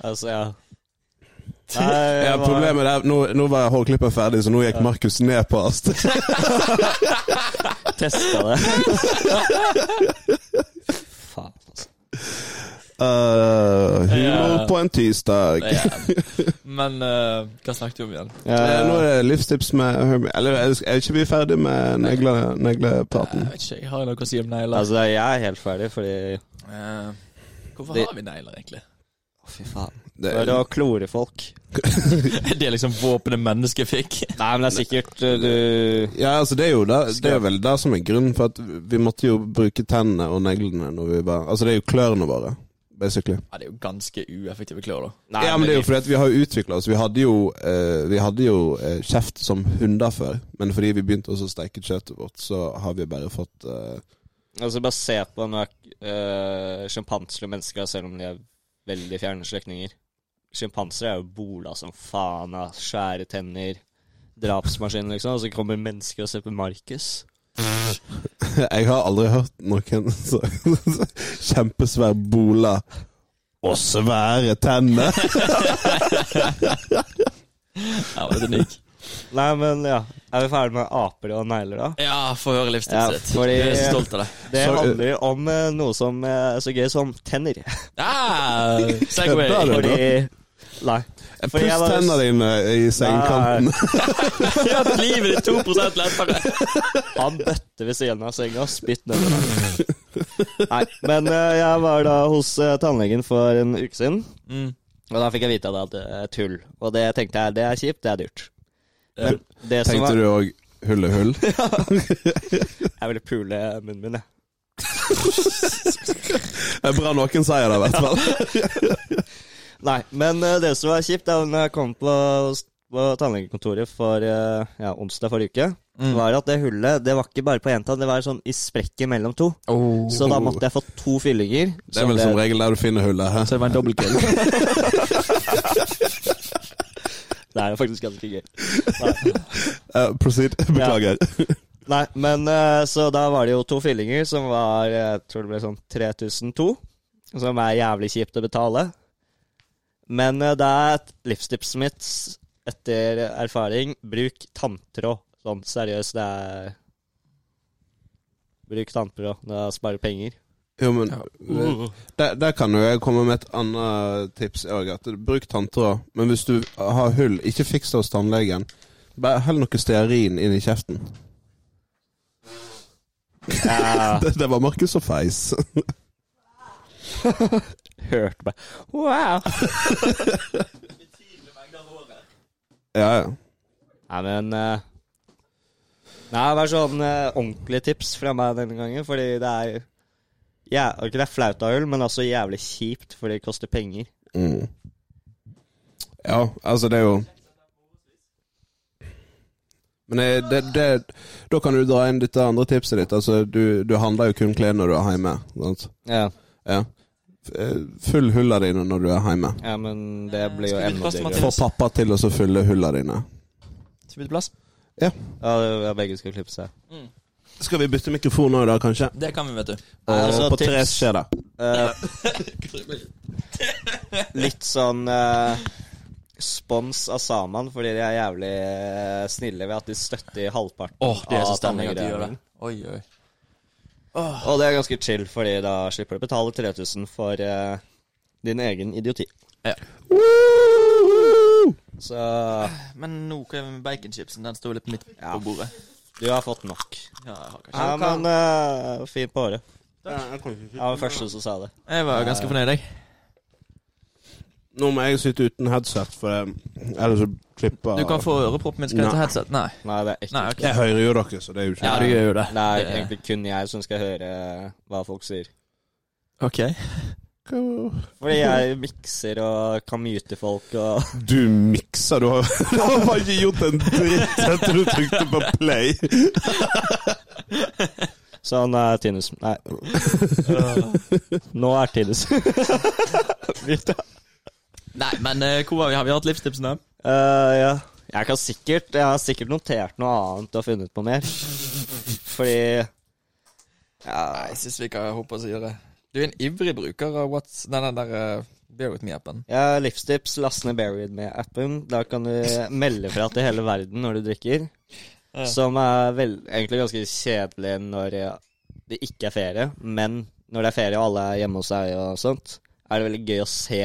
[SPEAKER 6] Altså, ja. Nei, jeg
[SPEAKER 5] Ja,
[SPEAKER 6] var-
[SPEAKER 5] problemet er, nå, nå var hårklippen ferdig, så nå gikk Markus ned på oss.
[SPEAKER 6] testa det. Faen, altså.
[SPEAKER 5] Uh, humor
[SPEAKER 4] Ja.
[SPEAKER 5] på en tirsdag.
[SPEAKER 4] Ja. Men eh, hva snakket vi om igjen?
[SPEAKER 5] Eh, Nå
[SPEAKER 6] Ja,
[SPEAKER 5] er det livstips med Hermie. Eller er er ikke vi ferdig med negle, neglepraten?
[SPEAKER 4] Jeg vet ikke, jeg har noe å si om negler.
[SPEAKER 6] altså, jeg er helt ferdig, fordi
[SPEAKER 4] Eh, hvorfor
[SPEAKER 6] Det-
[SPEAKER 4] har vi negler, egentlig?
[SPEAKER 6] Å, Fy faen.
[SPEAKER 5] Det,
[SPEAKER 6] For å klore folk.
[SPEAKER 4] Det er liksom våpenet mennesket fikk.
[SPEAKER 6] Nei, men det er sikkert uh, du
[SPEAKER 5] ja, altså det er jo det, det er vel det som er grunnen, for at vi måtte jo bruke tennene og neglene når vi var Altså, det er jo klørne våre, basically.
[SPEAKER 4] Ja, det er jo ganske ueffektive klør, da.
[SPEAKER 6] Nei,
[SPEAKER 5] ja, men det er jo fordi at vi har jo utvikla oss. Vi hadde jo, eh, vi hadde jo eh, kjeft som hunder før, men fordi vi begynte også å steike kjøttet vårt, så har vi bare fått eh,
[SPEAKER 6] Altså, bare se på når uh, sjimpanser og mennesker, selv om de er veldig fjerne slektninger. Sjimpanser er jo bola som faen av svære tenner, drapsmaskin, liksom. Og så kommer mennesker og ser på Markus.
[SPEAKER 5] Jeg har aldri hørt noen så kjempesvær bola og svære tenner.
[SPEAKER 4] Ja, det er unik.
[SPEAKER 6] Nei, men ja. Er vi ferdig med aper og negler, da?
[SPEAKER 4] ja få høre livsstilen
[SPEAKER 6] Ja,
[SPEAKER 4] sitt.
[SPEAKER 6] fordi-
[SPEAKER 4] Jeg er så stolt av det.
[SPEAKER 6] Det
[SPEAKER 5] Så-
[SPEAKER 6] handler om eh, noe som eh, er så gøy som tenner.
[SPEAKER 4] Ah, Segway.
[SPEAKER 5] Ja, da er det.
[SPEAKER 6] Fordi Nei. Fordi jeg
[SPEAKER 5] Puss
[SPEAKER 6] var-
[SPEAKER 5] tennene dine i sengekanten.
[SPEAKER 4] Ja, Livet ditt 2 lettere.
[SPEAKER 6] Han bøtte ved siden av senga og spytt nedover. Nei, men eh, jeg var da hos eh, tannlegen for en uke siden,
[SPEAKER 4] Mm.
[SPEAKER 6] og da fikk jeg vite at det er tull. Og det tenkte jeg, det er kjipt, det er dyrt. Men det som
[SPEAKER 5] Tenkte
[SPEAKER 6] var
[SPEAKER 5] du òg hull er hull?
[SPEAKER 6] Jeg ville pule munnen min, jeg.
[SPEAKER 5] Det er bra noen sier det, i hvert fall.
[SPEAKER 6] Nei, men eh, det som var kjipt, er når jeg kom på, på tannlegekontoret for eh, ja, onsdag forrige uke,
[SPEAKER 5] Mm.
[SPEAKER 6] var at det hullet det var ikke bare på én tann, det var sånn i sprekket mellom to. Så da måtte jeg få to fyllinger.
[SPEAKER 5] Oh. Det er vel som regel der du finner hullet. Hæ?
[SPEAKER 4] det var en dobbeltkill.
[SPEAKER 6] Det er jo faktisk ganske gøy. Nei.
[SPEAKER 5] Eh, proceed. Beklager.
[SPEAKER 6] Nei, men eh, så da var det jo to fyllinger som var eh, Jeg tror det ble sånn 3002. Som er jævlig kjipt å betale. Men eh, det er et livstipset mitt etter erfaring. Bruk tanntråd. Sånn seriøst, det er Bruk tanntråd. Det sparer penger.
[SPEAKER 5] Jo, men der, der kan jo jeg komme med et annet tips òg. Bruk tanntråd. Men hvis du har hull, ikke fiks det hos tannlegen. Bare hell noe stearin inn i kjeften.
[SPEAKER 6] Jeg
[SPEAKER 5] Det, det var Markus og feis.
[SPEAKER 6] hørte meg. Wow!
[SPEAKER 5] ja, ja.
[SPEAKER 6] Nei, men eh, Nei, det er sånn eh, ordentlige tips fra meg denne gangen, fordi det er ja, Ikke det er flaut av hull, men også jævlig kjipt, for det koster penger.
[SPEAKER 5] Mm. Ja, altså det er jo Men det, det, det, da kan du dra inn dette andre tipset ditt. Altså, du, du handler jo kun klær når du er hjemme. Sant?
[SPEAKER 6] Ja,
[SPEAKER 5] Ja. F- eh, Fyll hullene dine når du er hjemme.
[SPEAKER 6] ja men det blir jo
[SPEAKER 4] Skal vi
[SPEAKER 6] enda
[SPEAKER 4] passe
[SPEAKER 6] dyrere.
[SPEAKER 4] Mathias?
[SPEAKER 5] Få pappa til å så fylle hullene dine.
[SPEAKER 4] Skal vi bytte plass?
[SPEAKER 6] Ja, ja, begge skal klippe seg.
[SPEAKER 5] Skal vi bytte mikrofon òg, da, kanskje?
[SPEAKER 4] Det kan vi, vet du.
[SPEAKER 5] Og
[SPEAKER 6] altså,
[SPEAKER 5] på
[SPEAKER 6] tips.
[SPEAKER 5] tre skjer det.
[SPEAKER 6] Eh, litt sånn eh, spons av Saman, fordi de er jævlig eh, snille ved at de støtter halvparten
[SPEAKER 4] Åh, det er så
[SPEAKER 6] av
[SPEAKER 4] stemning at de gjør det.
[SPEAKER 6] tannlegegreiene.
[SPEAKER 4] Oi, oi.
[SPEAKER 6] Og det er ganske chill, fordi da slipper du å betale 3000 for eh, din egen idioti.
[SPEAKER 4] Ja.
[SPEAKER 6] Så
[SPEAKER 4] Men nå hva er det med baconchipsen? Den står litt midt på bordet.
[SPEAKER 6] du har fått nok.
[SPEAKER 4] Ja, jeg har kanskje
[SPEAKER 6] Ja, men eh, fint på håret. Jeg var den første som sa det.
[SPEAKER 4] Jeg var ganske fornøyd, jeg.
[SPEAKER 5] Nå må jeg sitte uten headset, for eh, ellers så klipper
[SPEAKER 4] Du kan få øreproppen min. Skal jeg ta
[SPEAKER 5] Nei.
[SPEAKER 4] headset? Nei.
[SPEAKER 6] Nei, det er ekkelt.
[SPEAKER 4] Nei, ok.
[SPEAKER 5] Jeg hører jo dere, så det er jo ikke
[SPEAKER 4] Ja, du gjør jo det.
[SPEAKER 6] Det er
[SPEAKER 4] Det-
[SPEAKER 6] egentlig kun jeg som skal høre eh, hva folk sier.
[SPEAKER 4] Ok.
[SPEAKER 6] Fordi jeg mikser og kan mute folk og
[SPEAKER 5] Du mikser, du har, du har bare ikke gjort en dritt etter du trykte på play.
[SPEAKER 6] Sånn er Tinus. Nei. Nå er Tinus. Mute.
[SPEAKER 4] Nei, men eh, hvor var vi? Har vi hatt livstipsene?
[SPEAKER 6] Eh, ja. Jeg kan sikkert Jeg har sikkert notert noe annet og funnet på mer. Fordi
[SPEAKER 5] eh,
[SPEAKER 4] Ja, jeg syns vi kan håpe oss å gjøre. Du er en ivrig bruker av what's, den der Bear with me-appen.
[SPEAKER 6] Ja, Livstips, last ned Buried med-appen. Da kan du melde fra til hele verden når du drikker.
[SPEAKER 4] Ja.
[SPEAKER 6] Som er vel, egentlig ganske kjedelig når eh, det ikke er ferie, men når det er ferie og alle er hjemme hos deg og sånt, er det veldig gøy å se.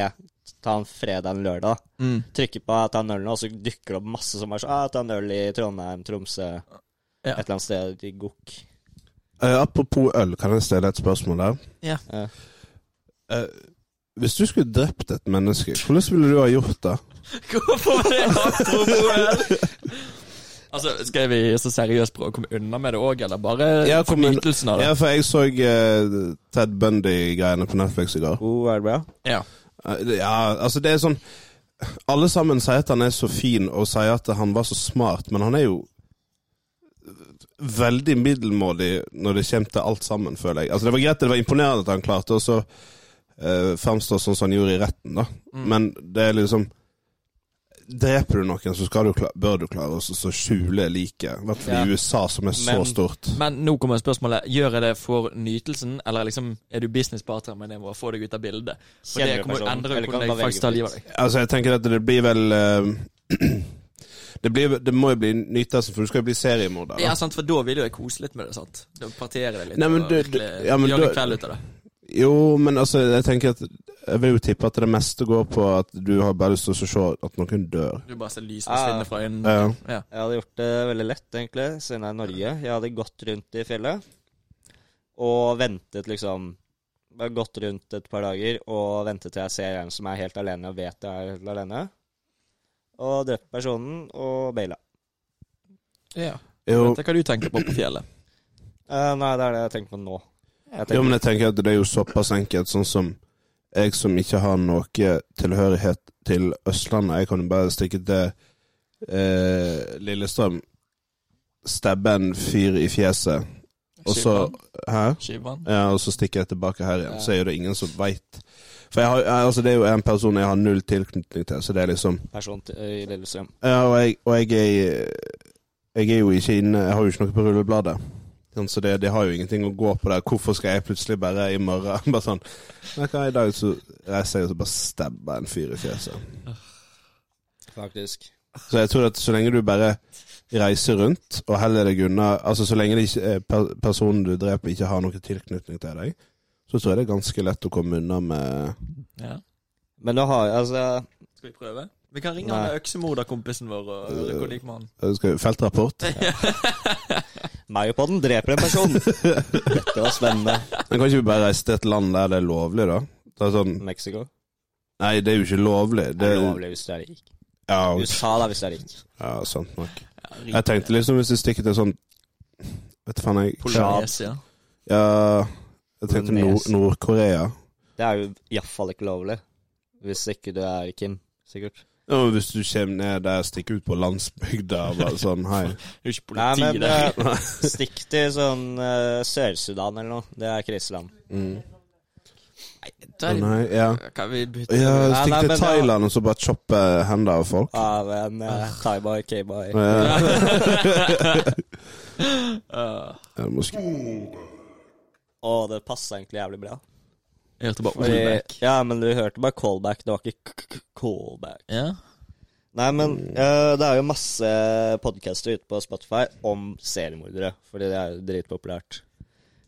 [SPEAKER 6] Ta en fredag en lørdag.
[SPEAKER 4] Mm.
[SPEAKER 6] Trykke på 'ta en øl' nå, og så dukker det opp masse som er sånn ah, 'ta en øl i Trondheim, Tromsø,
[SPEAKER 4] Ja.
[SPEAKER 6] et eller annet sted i Gokk'.
[SPEAKER 5] Eh, apropos øl, kan jeg stille et spørsmål der?
[SPEAKER 4] Ja.
[SPEAKER 6] Ja.
[SPEAKER 5] Eh, hvis du skulle drept et menneske, hvordan ville du ha gjort det?
[SPEAKER 4] Hvorfor var det apropos Altså, Skal vi så seriøst prøve å komme unna med det òg, eller bare
[SPEAKER 5] Ja, kom unna.
[SPEAKER 4] nytelsen av det?
[SPEAKER 5] Ja, for jeg så eh, Ted Bundy-greiene på Netflix i går.
[SPEAKER 6] God, er det bra?
[SPEAKER 4] Ja.
[SPEAKER 5] Eh, det- ja, altså det er sånn Alle sammen sier at han er så fin, og sier at han var så smart, men han er jo veldig middelmådig når det kommer til alt sammen, føler jeg. Altså Det var greit, det var imponerende at han klarte å så, eh, fremstå sånn som han gjorde i retten, da.
[SPEAKER 4] Mm.
[SPEAKER 6] Mm.
[SPEAKER 5] Men det er liksom Dreper du noen, så skal du kla- bør du klare å så- så skjule liket. I hvert fall i
[SPEAKER 6] Ja.
[SPEAKER 5] USA, som er så
[SPEAKER 6] Men-
[SPEAKER 5] stort.
[SPEAKER 4] Men nå kommer spørsmålet. Gjør jeg det for nytelsen, eller liksom er du businesspartner med nivået? Få deg ut av bildet. For det
[SPEAKER 6] Kjenner du
[SPEAKER 4] kommer å
[SPEAKER 6] personen,
[SPEAKER 4] endre
[SPEAKER 6] eller kan
[SPEAKER 4] hvordan
[SPEAKER 6] du
[SPEAKER 4] jeg
[SPEAKER 6] bare
[SPEAKER 4] faktisk
[SPEAKER 6] velge
[SPEAKER 4] tar livet av
[SPEAKER 6] fritt?
[SPEAKER 4] deg.
[SPEAKER 5] Altså, jeg tenker at det blir vel eh, det, blir, det må jo bli nytelsen, for du skal jo bli seriemorder. da.
[SPEAKER 4] Ja, sant, for da vil jo jeg kose litt med det, sant. Da parterer jeg litt
[SPEAKER 5] Nei, men
[SPEAKER 4] og
[SPEAKER 5] du-
[SPEAKER 4] virkelig
[SPEAKER 5] du- ja, men
[SPEAKER 4] gjør en
[SPEAKER 5] du-
[SPEAKER 4] kveld ut av det.
[SPEAKER 5] Jo, men altså, jeg tenker at Jeg vil jo tippe at det meste går på at du har bare lyst til å se at noen dør.
[SPEAKER 4] Du bare ser lysene
[SPEAKER 6] Ah.
[SPEAKER 4] svinne fra øynene.
[SPEAKER 5] Ja.
[SPEAKER 4] Ja.
[SPEAKER 6] Jeg hadde gjort det veldig lett, egentlig, siden jeg er i Norge. Jeg hadde gått rundt i fjellet og ventet, liksom Bare gått rundt et par dager og ventet til jeg ser en som er helt alene og vet jeg er helt alene. Og drept personen og baila.
[SPEAKER 4] Ja.
[SPEAKER 5] Eh, Jo,
[SPEAKER 4] Vet du hva du tenker på på fjellet?
[SPEAKER 6] Eh, nei, det er det jeg tenker på nå. Jeg
[SPEAKER 5] jo,
[SPEAKER 6] tenker,
[SPEAKER 5] men jeg tenker at det er jo såpass enkelt, sånn som jeg som ikke har noe tilhørighet til Østlandet. Jeg kan jo bare stikke til eh, Lillestrøm, stabbe en fyr i fjeset, og så Hæ?
[SPEAKER 4] Skivan.
[SPEAKER 5] Ja, og så stikker jeg tilbake her igjen. Så er det ingen som veit. For jeg har, jeg, altså, det er jo en person jeg har null tilknytning til, så det er liksom
[SPEAKER 6] person til, i Lillestrøm.
[SPEAKER 5] Ja, og jeg, og jeg er Jeg er jo ikke inne Jeg har jo ikke noe på rullebladet. Sånn, Så det, det har jo ingenting å gå på der. Hvorfor skal jeg plutselig bare i morgen Bare sånn Nei, hva i dag så reiser jeg og så bare stabber en fyr i fjeset.
[SPEAKER 6] Faktisk.
[SPEAKER 5] Så jeg tror at så lenge du bare reiser rundt og heller deg unna Altså så lenge det ikke, er per, personen du dreper, ikke har noen tilknytning til deg, så tror jeg det er ganske lett å komme unna med
[SPEAKER 4] Ja.
[SPEAKER 6] Men nå har jeg altså
[SPEAKER 4] Skal vi prøve? Vi kan ringe
[SPEAKER 6] Nei.
[SPEAKER 4] han øksemorderkompisen vår og høre hvor det gikk med han.
[SPEAKER 5] eh, Skal vi- Feltrapport.
[SPEAKER 6] meg og podden dreper en person. Dette var spennende.
[SPEAKER 5] Men kan ikke vi bare reise til et land der det er lovlig, da? Det er sånn,
[SPEAKER 6] Mexico.
[SPEAKER 5] nei, det er jo ikke lovlig.
[SPEAKER 6] Det er ulovlig hvis du er rik.
[SPEAKER 5] Ja,
[SPEAKER 6] USA, da, hvis du er rik.
[SPEAKER 5] ja, sant nok.
[SPEAKER 4] rik-
[SPEAKER 5] Jeg tenkte liksom hvis jeg stikker til sånn Vet du faen, jeg
[SPEAKER 4] Polynesia.
[SPEAKER 5] Ja, jeg tenkte Nord-
[SPEAKER 6] Indonesia.
[SPEAKER 5] Nord-Korea.
[SPEAKER 6] Det er jo iallfall ikke lovlig. Hvis ikke du er Kim, sikkert.
[SPEAKER 5] Ja, men hvis du kommer ned der, stikker ut på landsbygda og bare sånn hei.
[SPEAKER 4] Det er jo ikke
[SPEAKER 6] Nei,
[SPEAKER 4] politi
[SPEAKER 6] men
[SPEAKER 4] der.
[SPEAKER 6] eh, stikk til sånn eh, Sør-Sudan eller noe. Det er kriseland.
[SPEAKER 5] Mm. Å,
[SPEAKER 4] Der-
[SPEAKER 5] Nei, ja.
[SPEAKER 4] øh, Kan vi bytte
[SPEAKER 5] ja
[SPEAKER 6] Nei,
[SPEAKER 5] Stikk
[SPEAKER 6] nei,
[SPEAKER 5] til
[SPEAKER 6] men det-
[SPEAKER 5] Thailand og så bare choppe hender av folk.
[SPEAKER 6] Av en uh, thaiboy, k-boy.
[SPEAKER 5] Ja,
[SPEAKER 4] Uh,
[SPEAKER 5] ja, måske.
[SPEAKER 6] Og det passa egentlig jævlig bra.
[SPEAKER 4] jeg hørte bare
[SPEAKER 6] Fordi,
[SPEAKER 4] Olbeck.
[SPEAKER 6] ja, men du hørte bare callback. Det var ikke k-k-k- callback.
[SPEAKER 4] Ja.
[SPEAKER 6] Nei, men eh, det er jo masse podcaster ute på Spotify om seriemordere, fordi det er jo dritpopulært.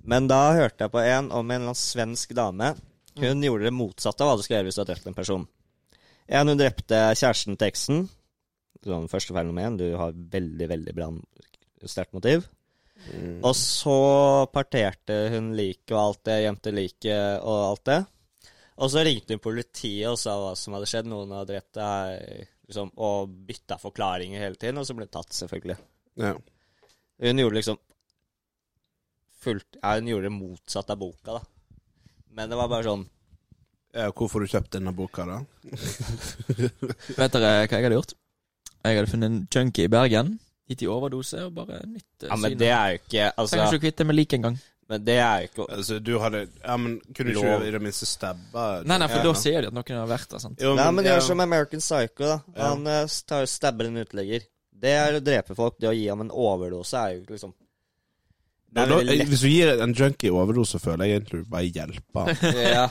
[SPEAKER 6] Men da hørte jeg på en om en eller annen svensk dame. Hun gjorde det motsatte av hva du skal gjøre hvis du har drept en person. En, hun drepte kjæresten til eksen. Sånn første fenomen. Du har veldig, veldig bra sterkt motiv. Og så parterte hun liket og alt det, gjemte liket og alt det. Og så ringte hun politiet og sa hva som hadde skjedd. Noen hadde drept deg, liksom, og bytta forklaringer hele tiden, og så ble hun tatt, selvfølgelig.
[SPEAKER 5] Ja.
[SPEAKER 6] Hun gjorde liksom fullt Ja, hun gjorde det motsatt av boka, da. Men det var bare sånn
[SPEAKER 5] Ja, hvorfor du kjøpte denne boka, da?
[SPEAKER 4] Vet dere hva jeg hadde gjort? Jeg hadde funnet en junkie i Bergen, gitt i overdose og bare nytt øh,
[SPEAKER 6] Ja, men det er jo ikke
[SPEAKER 4] Trenger
[SPEAKER 6] Altså,
[SPEAKER 4] ikke å kvitte meg lik engang.
[SPEAKER 6] men det er jo ikke
[SPEAKER 5] Altså, du hadde Ja, men kunne du
[SPEAKER 6] Lov.
[SPEAKER 5] ikke i det minste stabba
[SPEAKER 4] Nei, nei, for
[SPEAKER 6] Ja.
[SPEAKER 4] da sier de at noen har vært der, sant.
[SPEAKER 5] Jo,
[SPEAKER 6] Nei, men
[SPEAKER 5] ja.
[SPEAKER 6] gjør som American Psycho, da.
[SPEAKER 5] Ja.
[SPEAKER 6] Han eh, tar, stabber en uteligger. Det er å drepe folk. Det å gi ham en overdose er jo ikke liksom Det
[SPEAKER 5] Ja,
[SPEAKER 6] er
[SPEAKER 5] da,
[SPEAKER 6] veldig lett.
[SPEAKER 5] hvis du gir en junkie overdose, føler jeg egentlig du bare hjelper han.
[SPEAKER 6] Ja.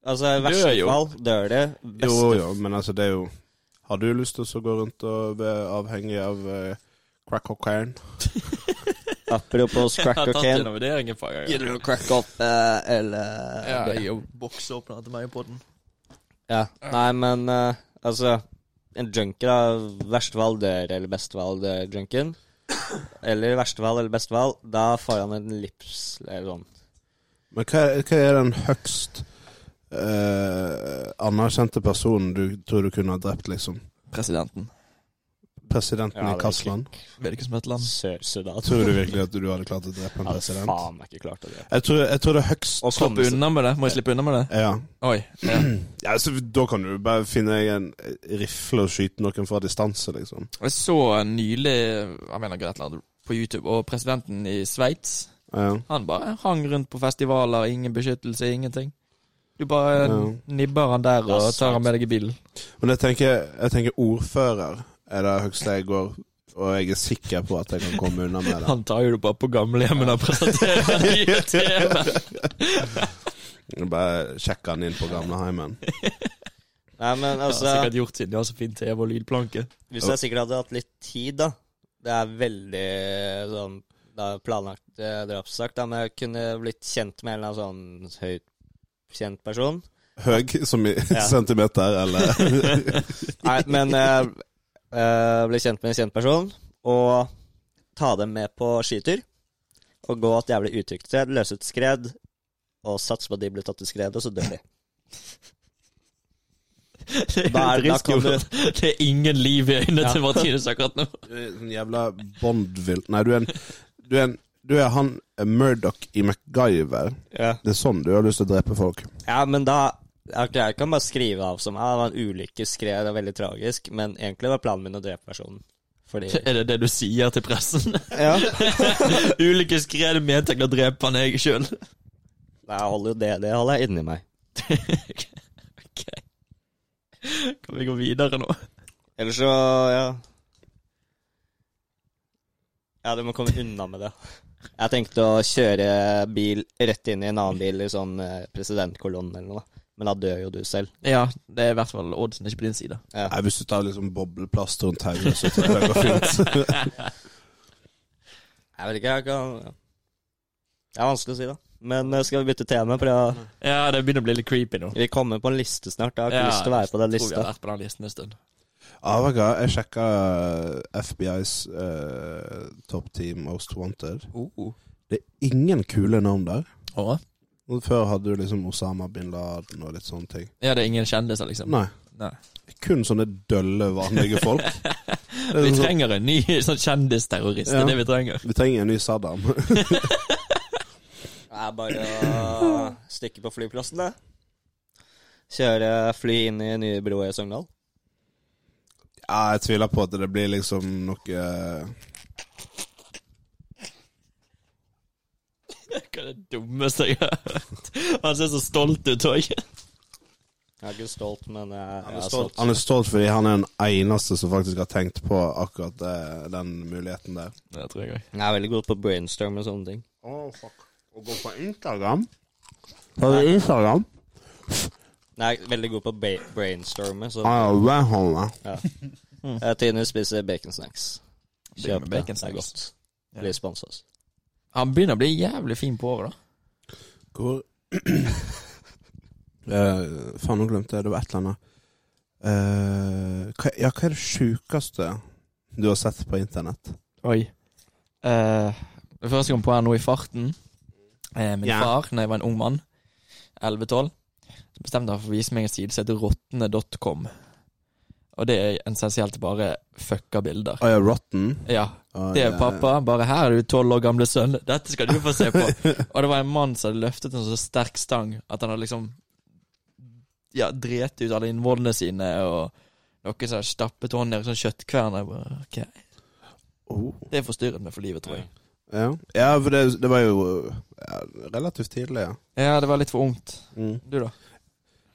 [SPEAKER 6] Altså, i
[SPEAKER 4] Dør
[SPEAKER 6] verste
[SPEAKER 4] jo.
[SPEAKER 6] fall dør de.
[SPEAKER 5] Jo,
[SPEAKER 6] Beste
[SPEAKER 5] jo, men altså, det er jo Har du lyst til å gå rundt og være avhengig av eh, crack cocaine?
[SPEAKER 6] Apropos crack cocaine.
[SPEAKER 4] vurdering et par ganger.
[SPEAKER 6] Gidder du å crack opp eh, eller
[SPEAKER 4] Ja, jeg bokser opp den til meg i podden.
[SPEAKER 6] Ja. Nei, men eh, altså En junker av verste fall dør, eller beste fall dør junken. Eller verste fall eller beste fall, da får han en lips eller sånn.
[SPEAKER 5] Men hva, hva er den høgst eh, anerkjente personen du tror du kunne ha drept, liksom?
[SPEAKER 4] Presidenten.
[SPEAKER 5] Presidenten
[SPEAKER 6] Ja,
[SPEAKER 5] i
[SPEAKER 6] det er
[SPEAKER 5] hvilket land?
[SPEAKER 4] Vet ikke som et land.
[SPEAKER 6] Sør-Sudan.
[SPEAKER 5] Tror du virkelig at du hadde klart å drepe en
[SPEAKER 6] Hadde
[SPEAKER 5] president?
[SPEAKER 6] faen meg ikke klart å drepe.
[SPEAKER 5] Jeg tror, jeg tror det er høgst
[SPEAKER 4] Og slippe unna med det. Må jeg slippe unna med det?
[SPEAKER 5] Ja.
[SPEAKER 4] Oi. Ja.
[SPEAKER 5] ja så da kan du bare finne deg en rifle og skyte noen fra distanse, liksom.
[SPEAKER 4] Jeg så nylig jeg mener Gretland på YouTube, og presidenten i Sveits
[SPEAKER 5] Ja.
[SPEAKER 4] Han bare hang rundt på festivaler, ingen beskyttelse, ingenting. Du bare
[SPEAKER 5] Ja.
[SPEAKER 4] nibber han der og tar han med deg i bilen.
[SPEAKER 5] Men jeg tenker, jeg tenker ordfører er det høgste jeg går, og jeg er sikker på at jeg kan komme unna med det.
[SPEAKER 4] Han tar jo det bare på gamlehjemmet og presenterer han i TV.
[SPEAKER 5] Jeg Bare sjekke han inn på gamleheimen.
[SPEAKER 6] Nei, men
[SPEAKER 4] Det har
[SPEAKER 6] altså
[SPEAKER 4] sikkert gjort siden de har så fin TV og lydplanke.
[SPEAKER 6] Hvis jeg sikkert hadde hatt litt tid, da Det er veldig sånn det er planlagt eh, drapssak, da, men jeg kunne blitt kjent med en eller annen sånn høyt kjent person.
[SPEAKER 5] Høg som i
[SPEAKER 6] Ja.
[SPEAKER 5] centimeter, eller
[SPEAKER 6] Nei, men eh, eh, bli kjent med en kjent person, og ta dem med på skitur. Og gå et jævlig utrygt sted, løse et skred, og satse på at de blir tatt i skredet, og så dør de. Da er- da kan du-
[SPEAKER 4] Det er ingen liv i øynene til Martinus akkurat nå.
[SPEAKER 5] Du er en jævla Bond-vill... Nei, du er en Du er, en, du er han eh, Murdoch i MacGyver.
[SPEAKER 6] Ja.
[SPEAKER 5] Det er sånn du har lyst til å drepe folk.
[SPEAKER 6] Ja, men da ok, Jeg kan bare skrive av som ja, det var en ulykke, skred, det var veldig tragisk, men egentlig var planen min å drepe personen. Fordi
[SPEAKER 4] Er det det du sier til pressen?
[SPEAKER 6] Ja.
[SPEAKER 4] Ulike skred med til å drepe han jeg sjøl.
[SPEAKER 6] Nei, jeg holder jo det, det holder jeg inni meg.
[SPEAKER 4] Ok. Kan vi gå videre nå?
[SPEAKER 6] Ellers så, ja Ja, du må komme unna med det. Jeg tenkte å kjøre bil rett inn i en annen bil i sånn eh, presidentkolonne eller noe, da. men da dør jo du selv.
[SPEAKER 4] Ja, det er i hvert fall oddsen ikke på din side.
[SPEAKER 5] Nei, Hvis du tar liksom bobleplast rundt hodet, så tror jeg det går fint.
[SPEAKER 6] Jeg vet ikke, jeg kan ja. Det er vanskelig å si, da. Men eh, skal vi bytte tema? For jeg,
[SPEAKER 4] Ja, det begynner å bli litt creepy nå.
[SPEAKER 6] vi kommer på en liste snart. Jeg har ikke
[SPEAKER 4] Ja,
[SPEAKER 6] lyst til å være på den
[SPEAKER 4] Tror vi
[SPEAKER 6] lista.
[SPEAKER 4] har vært på den listen en stund.
[SPEAKER 5] Ja, vet du hva, jeg sjekka eh, FBIs eh, Top Team Most Wanted. Det er ingen kule navn der.
[SPEAKER 4] Å?
[SPEAKER 5] Og Før hadde du liksom Osama bin Laden og litt sånne ting.
[SPEAKER 4] Ja, det er ingen kjendiser, liksom.
[SPEAKER 5] Nei.
[SPEAKER 4] Nei.
[SPEAKER 5] Kun sånne dølle, vanlige folk. Det er
[SPEAKER 4] Vi
[SPEAKER 5] sånn-
[SPEAKER 4] trenger en ny sånn kjendisterrorist. Det
[SPEAKER 5] Ja.
[SPEAKER 4] er det vi trenger.
[SPEAKER 5] vi trenger en ny Saddam.
[SPEAKER 6] Det er bare å stikke på flyplassen, det. Kjøre fly inn i nye broer i Sogndal.
[SPEAKER 5] Ja, jeg tviler på at det blir liksom noe
[SPEAKER 4] Hva er det dummeste jeg har hørt? Han ser så stolt ut òg.
[SPEAKER 6] Jeg er ikke stolt, men jeg,
[SPEAKER 5] Han er
[SPEAKER 6] jeg er
[SPEAKER 5] stolt,
[SPEAKER 6] stolt.
[SPEAKER 5] han er stolt fordi han er den eneste som faktisk har tenkt på akkurat det, den muligheten der.
[SPEAKER 4] Det tror jeg òg.
[SPEAKER 6] Jeg er veldig god på brainstorm og sånne ting.
[SPEAKER 5] Å, fuck. Å gå på Instagram? Har du Instagram?
[SPEAKER 6] Nei, jeg er veldig god på ba- brainstorme. Så
[SPEAKER 5] Ja, det har jeg.
[SPEAKER 6] jeg Tine spiser baconsnacks.
[SPEAKER 4] Begynner
[SPEAKER 6] Kjøp
[SPEAKER 4] med
[SPEAKER 6] det.
[SPEAKER 4] bacon
[SPEAKER 6] Det er
[SPEAKER 4] snacks.
[SPEAKER 6] godt.
[SPEAKER 4] Ja.
[SPEAKER 6] Blir sponsa.
[SPEAKER 4] Han begynner å bli jævlig fin på håret, da.
[SPEAKER 5] Hvor Eh, Faen, nå glemte jeg det var et eller annet. Eh, hva, ja, hva er det sjukeste du har sett på internett?
[SPEAKER 4] Oi. Eh, det første jeg kom på her nå i farten eh, Min
[SPEAKER 5] Ja.
[SPEAKER 4] far, da jeg var en ung mann, 11-12, så bestemte han for å vise meg en side som heter rottene.com. Og det er essensielt bare fucka bilder.
[SPEAKER 5] Å ja, Rotten.
[SPEAKER 4] Ja.
[SPEAKER 5] Å,
[SPEAKER 4] Det
[SPEAKER 5] ja.
[SPEAKER 4] er pappa. Bare her er du tolv år gamle sønn. Dette skal du få se på. Og det var en mann som hadde løftet en så sterk stang at han hadde liksom Ja, dret ut alle innvollene sine, og noen som hadde stappet hånden ned i sånn kjøttkvern. Jeg bare, ok.
[SPEAKER 5] Oh.
[SPEAKER 4] Det forstyrret meg for livet, tror jeg.
[SPEAKER 5] Ja. ja, for det, det var jo ja, relativt tidlig, ja.
[SPEAKER 4] Ja, det var litt for ungt.
[SPEAKER 5] Mm.
[SPEAKER 4] Du, da?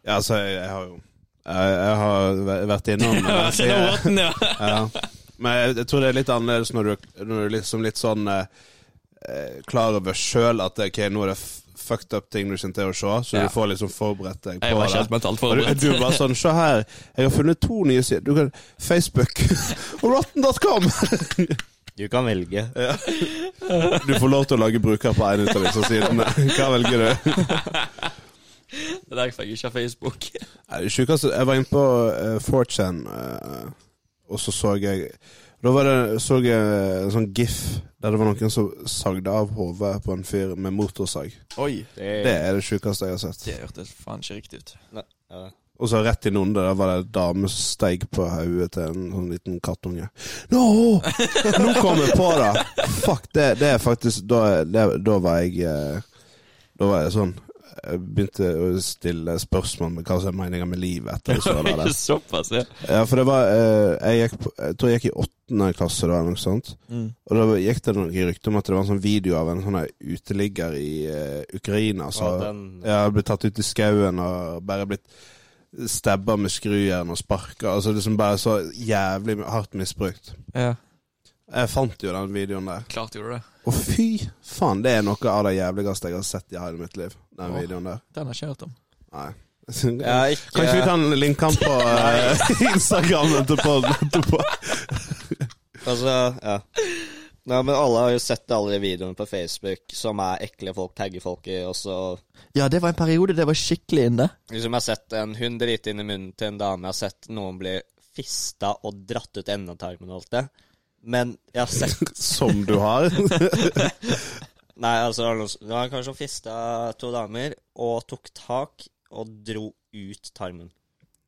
[SPEAKER 5] Ja, altså, jeg, jeg har jo jeg, jeg har væ- vært innom den siden. ja. Men jeg, jeg tror det er litt annerledes når du, når du liksom litt sånn eh, eh, klar over sjøl at ok, nå er det f- fucked up ting du kommer til å se, så
[SPEAKER 4] Ja.
[SPEAKER 5] du får liksom forberedt deg
[SPEAKER 4] Jeg
[SPEAKER 5] på
[SPEAKER 4] var
[SPEAKER 5] det.
[SPEAKER 4] ikke helt mentalt
[SPEAKER 5] Og
[SPEAKER 4] forberedt.
[SPEAKER 5] Du, du bare sånn, se her, jeg har funnet to nye sider. Du kan Facebook og rotten.com!
[SPEAKER 6] Du kan velge.
[SPEAKER 5] Du får lov til å lage bruker på en av disse sidene. Hva velger du?
[SPEAKER 4] Det er derfor jeg ikke har Facebook.
[SPEAKER 5] Nei, det sjukeste- Jeg var inne på eh, 4chan, eh, og så så jeg Da var det, så jeg en sånn gif der det var noen som sagde av hodet på en fyr med motorsag.
[SPEAKER 4] Oi.
[SPEAKER 5] Det er det sjukeste jeg har sett.
[SPEAKER 4] Det hørtes faen ikke riktig ut.
[SPEAKER 6] Ja.
[SPEAKER 5] Og så rett innunder der var det ei dame som steig på hodet til en sånn liten kattunge. Nå! Nå kom jeg på det! Fuck, det, det er faktisk da, det, da var jeg eh, Da var jeg sånn Jeg begynte å stille spørsmål med hva som er meninga med livet etter jeg så det der.
[SPEAKER 4] Såpass, ja.
[SPEAKER 5] Ja, for det var eh, jeg, gikk, på- jeg tror jeg gikk i åttende klasse da, eller noe sånt.
[SPEAKER 4] Mm.
[SPEAKER 5] Og da gikk det noen rykter om at det var en sånn video av en sånn her uteligger i eh, Ukraina. Så,
[SPEAKER 6] Og den-
[SPEAKER 5] ja, blitt tatt ut i skauen og bare blitt stabba med skrujern og sparka. Altså liksom bare så jævlig hardt misbrukt.
[SPEAKER 4] ja.
[SPEAKER 5] Jeg fant jo den videoen der.
[SPEAKER 4] Klart gjorde du det.
[SPEAKER 5] Og fy faen, det er noe av det jævligste jeg har sett i hele mitt liv. Den
[SPEAKER 4] Åh.
[SPEAKER 5] videoen der.
[SPEAKER 4] Den har jeg ikke hørt om.
[SPEAKER 5] Nei.
[SPEAKER 6] Jeg, ikke,
[SPEAKER 5] Kanskje vi kan linke den på eh, Instagramen til podden etterpå.
[SPEAKER 6] Altså, ja. Nei, men alle har jo sett alle de videoene på Facebook som er ekle folk tagger folk i, og så
[SPEAKER 4] Ja, det var en periode det var skikkelig inne.
[SPEAKER 6] liksom jeg har sett en hund drite inn i munnen til en dame, jeg har sett noen bli fista og dratt ut endetarmen og alt det. Men jeg har sett
[SPEAKER 5] Som du har.
[SPEAKER 6] Nei, altså, det var noen som- det var en kar som fista to damer og tok tak og dro ut tarmen.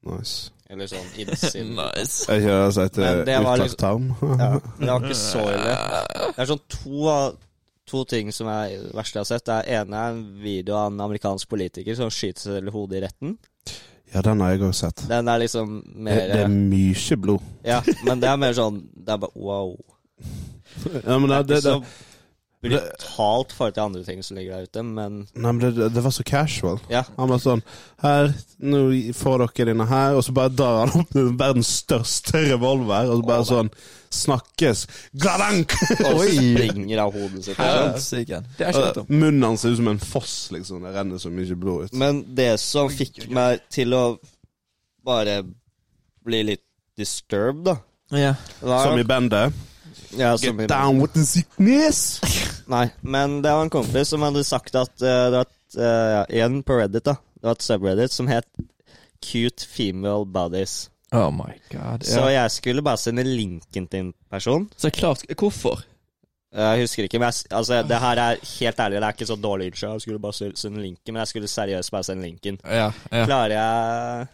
[SPEAKER 5] nice.
[SPEAKER 6] Eller sånn innsiden.
[SPEAKER 4] Nice.
[SPEAKER 5] Er ikke det det som heter
[SPEAKER 6] Men det var liksom-
[SPEAKER 5] utlagt eh, tarm?
[SPEAKER 6] Ja, det var ikke så ille. Det er sånn to, av- to ting som er det verste jeg har sett. Det er ene er en video av en amerikansk politiker som skyter seg selv i hodet i retten.
[SPEAKER 5] Ja, den har jeg òg sett.
[SPEAKER 6] Den er liksom
[SPEAKER 5] Det,
[SPEAKER 6] mer
[SPEAKER 5] det er mye blod.
[SPEAKER 6] Ja, men det er mer sånn Det er bare wow.
[SPEAKER 5] Ja, men det,
[SPEAKER 6] Det
[SPEAKER 5] det,
[SPEAKER 6] er
[SPEAKER 5] det,
[SPEAKER 6] så brutalt i forhold til andre ting som ligger der ute, men
[SPEAKER 5] nei, men det, det var så casual.
[SPEAKER 6] ja.
[SPEAKER 5] Han var sånn Her, nå får dere dine her. Og så bare drar han opp den verdens største revolver, og så bare sånn Snakkes. Gadank!
[SPEAKER 6] Og springer av hodet sitt. liksom.
[SPEAKER 4] Helsike. Det har jeg ikke hørt om.
[SPEAKER 5] Munnen hans ser ut som en foss, liksom. Det renner så mye blod ut.
[SPEAKER 6] Men det som fikk meg til å bare bli litt disturbed, da
[SPEAKER 4] Ja.
[SPEAKER 6] var-
[SPEAKER 5] Som i bandet.
[SPEAKER 6] ja, som
[SPEAKER 5] Get
[SPEAKER 6] i-
[SPEAKER 5] down with the sickness!
[SPEAKER 6] Nei, men det var en kompis som hadde sagt at eh, det var et, eh, Igjen på Reddit, da. Det var et subreddit som het Cute Female Bodies.
[SPEAKER 4] Oh my god.
[SPEAKER 6] Så jeg skulle bare sende linken til en person.
[SPEAKER 4] Så klart. Hvorfor?
[SPEAKER 6] Jeg husker ikke, men jeg, s- altså, det her er helt ærlig, det er ikke så dårlig unnskyld. Jeg skulle bare s- sende linken, men jeg skulle seriøst bare sende linken.
[SPEAKER 4] Ja, ja.
[SPEAKER 6] Klarer jeg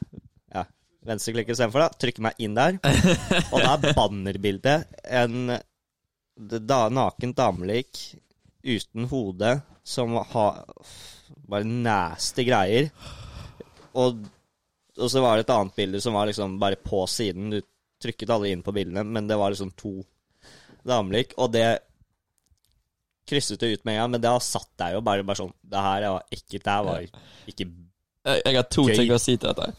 [SPEAKER 6] Ja, venstreklikk istedenfor, da. Trykker meg inn der. Og da er bannerbildet en d- da, naken damelik uten hode som har bare nasty greier. Og, og så var det et annet bilde som var liksom bare på siden. Du trykket alle inn på bildene, men det var liksom to damelik, og det krysset det ut med en gang, men det har satt deg jo bare, bare sånn Det her var ekkelt. Det her var ikke
[SPEAKER 4] Jeg, jeg har to
[SPEAKER 6] Gøy.
[SPEAKER 4] ting å si til dette.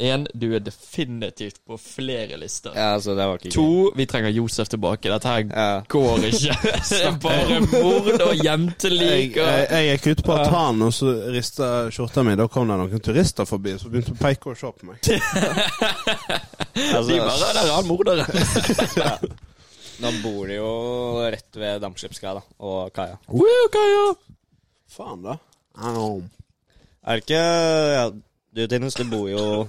[SPEAKER 4] En, du er definitivt på flere lister.
[SPEAKER 6] Ja, altså, det var ikke gøy.
[SPEAKER 4] To, vi trenger Josef tilbake. Dette her
[SPEAKER 6] Ja.
[SPEAKER 4] går ikke. Det er bare mord og
[SPEAKER 5] Jeg,
[SPEAKER 4] jentelik
[SPEAKER 5] jeg,
[SPEAKER 4] og
[SPEAKER 5] jeg gikk ut på altanen, og så rista skjorta mi. Da kom det noen turister forbi, så begynte de å peke og se på meg.
[SPEAKER 6] Altså,
[SPEAKER 4] De bare "Ja, Der er han morderen.
[SPEAKER 6] Nå bor de jo rett ved Dampskipskaia da, og kaia.
[SPEAKER 4] Woo, Kaja.
[SPEAKER 5] Faen, da. Au.
[SPEAKER 6] Er det ikke ja, Du, Tinus, du bor jo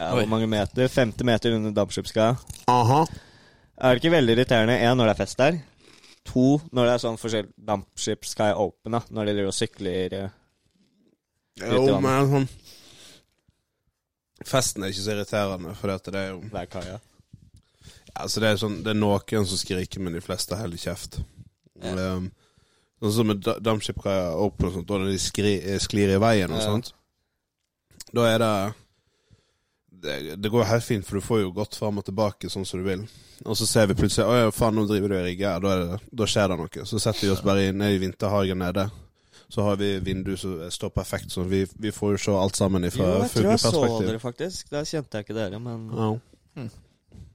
[SPEAKER 6] ja,
[SPEAKER 4] Oi.
[SPEAKER 6] Hvor mange meter? 50 meter under Dampskipskaia.
[SPEAKER 5] Aha.
[SPEAKER 6] Er det ikke veldig irriterende? Én, når det er fest der. To, når det er sånn forskjell Dampskipskaia Open, da, når de driver og sykler eh.
[SPEAKER 5] Jo, men sånn Festen er ikke så irriterende, for det er jo
[SPEAKER 6] Det er kaia.
[SPEAKER 5] Altså, det er sånn Det er noen som skriker, men de fleste holder kjeft. Um, Sånn som med da- dampskipkaia opp og sånt, og når de skri, eh, sklir i veien og
[SPEAKER 6] Ja.
[SPEAKER 5] sånt. Da er det det, det går jo helt fint, for du får jo gått fram og tilbake sånn som du vil. Og så ser vi plutselig Å ja, faen, nå driver du og rigger her. Da, er det- da skjer det noe. Så setter vi oss bare inn- ned i vinterhagen nede. Så har vi vindu som står perfekt, så vi, vi får jo se alt sammen
[SPEAKER 6] Jo,
[SPEAKER 5] ifra
[SPEAKER 6] jeg tror jeg så
[SPEAKER 5] fugleperspektiv.
[SPEAKER 6] dere, faktisk. Da kjente jeg ikke dere, men
[SPEAKER 5] Ja.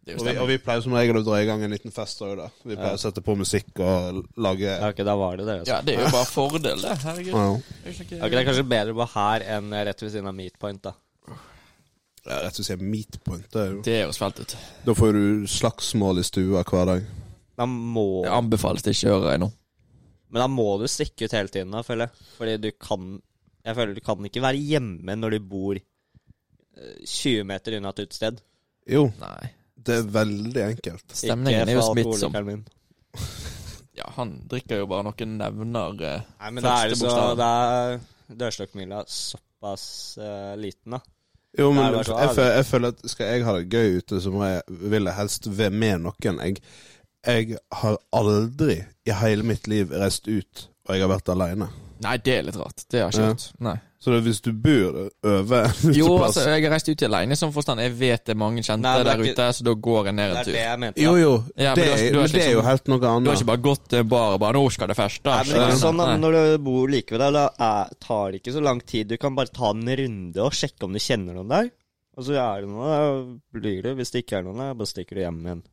[SPEAKER 4] Det er jo
[SPEAKER 5] Og vi, og
[SPEAKER 4] stemning.
[SPEAKER 5] vi pleier som regel å dra i gang en liten fest òg, da. Vi pleier å sette på musikk og lage
[SPEAKER 6] Ja, ok, da var det deres.
[SPEAKER 4] Ja, det er jo bare fordel, det. Herregud.
[SPEAKER 5] Ja,
[SPEAKER 4] Det er jo ikke noe-
[SPEAKER 6] Ok, det er kanskje bedre å være her enn rett ved siden av Meatpoint, da.
[SPEAKER 5] ja, rett og slett meatpoint. Det er jo.
[SPEAKER 4] Det høres fælt ut.
[SPEAKER 5] Da får du slagsmål i stua hver dag.
[SPEAKER 6] Da må
[SPEAKER 4] Det anbefales det ikke å gjøre ennå.
[SPEAKER 6] Men da må du stikke ut hele tiden, da, føler jeg. Fordi du kan Jeg føler du kan ikke være hjemme når du bor eh, 20 meter unna et utested.
[SPEAKER 5] Jo,
[SPEAKER 4] Nei.
[SPEAKER 5] det er veldig enkelt.
[SPEAKER 4] Stemningen er jo smittsom.
[SPEAKER 6] Min.
[SPEAKER 4] Ja, han drikker jo bare noen nevner eh,
[SPEAKER 6] Nei, men da
[SPEAKER 4] Første
[SPEAKER 6] er det så
[SPEAKER 4] bokstaven.
[SPEAKER 6] Da er dørstokkmila såpass eh, liten, da.
[SPEAKER 5] Jo, men
[SPEAKER 6] Nei, det var
[SPEAKER 5] jeg,
[SPEAKER 6] så
[SPEAKER 5] fø- jeg føler at skal jeg ha det gøy ute, så må jeg, vil jeg helst være med noen. Jeg, jeg har aldri i hele mitt liv reist ut, og jeg har vært aleine.
[SPEAKER 4] Nei, det er litt rart. Det har jeg ikke
[SPEAKER 5] Ja.
[SPEAKER 4] gjort. Nei.
[SPEAKER 5] Så det, hvis du bor over en
[SPEAKER 4] Jo,
[SPEAKER 5] uteplass
[SPEAKER 4] altså, jeg har reist ut alene i sånn forstand. Jeg vet det er mange kjente
[SPEAKER 6] Nei, men det er
[SPEAKER 4] der
[SPEAKER 6] ikke-
[SPEAKER 4] ute, så da går jeg ned
[SPEAKER 6] Det
[SPEAKER 4] en
[SPEAKER 6] er
[SPEAKER 4] tur.
[SPEAKER 6] det jeg mente. da.
[SPEAKER 5] Jo, jo,
[SPEAKER 4] Ja, men
[SPEAKER 5] det,
[SPEAKER 4] du har-
[SPEAKER 5] er-
[SPEAKER 4] du har
[SPEAKER 5] men
[SPEAKER 4] ikke
[SPEAKER 5] det er jo
[SPEAKER 4] liksom-
[SPEAKER 5] helt noe
[SPEAKER 4] Du har
[SPEAKER 5] annet.
[SPEAKER 4] ikke bare gått til bar og bare 'Nå skal det feste'.
[SPEAKER 6] Nei, men det er ikke
[SPEAKER 4] skjønner du?
[SPEAKER 6] sånn da,
[SPEAKER 4] Nei.
[SPEAKER 6] Når du bor like ved deg, da er, tar det ikke så lang tid. Du kan bare ta en runde og sjekke om du kjenner noen der. Og så er det noen der, da blir du. Hvis det ikke er noen der, bare stikker du hjem igjen.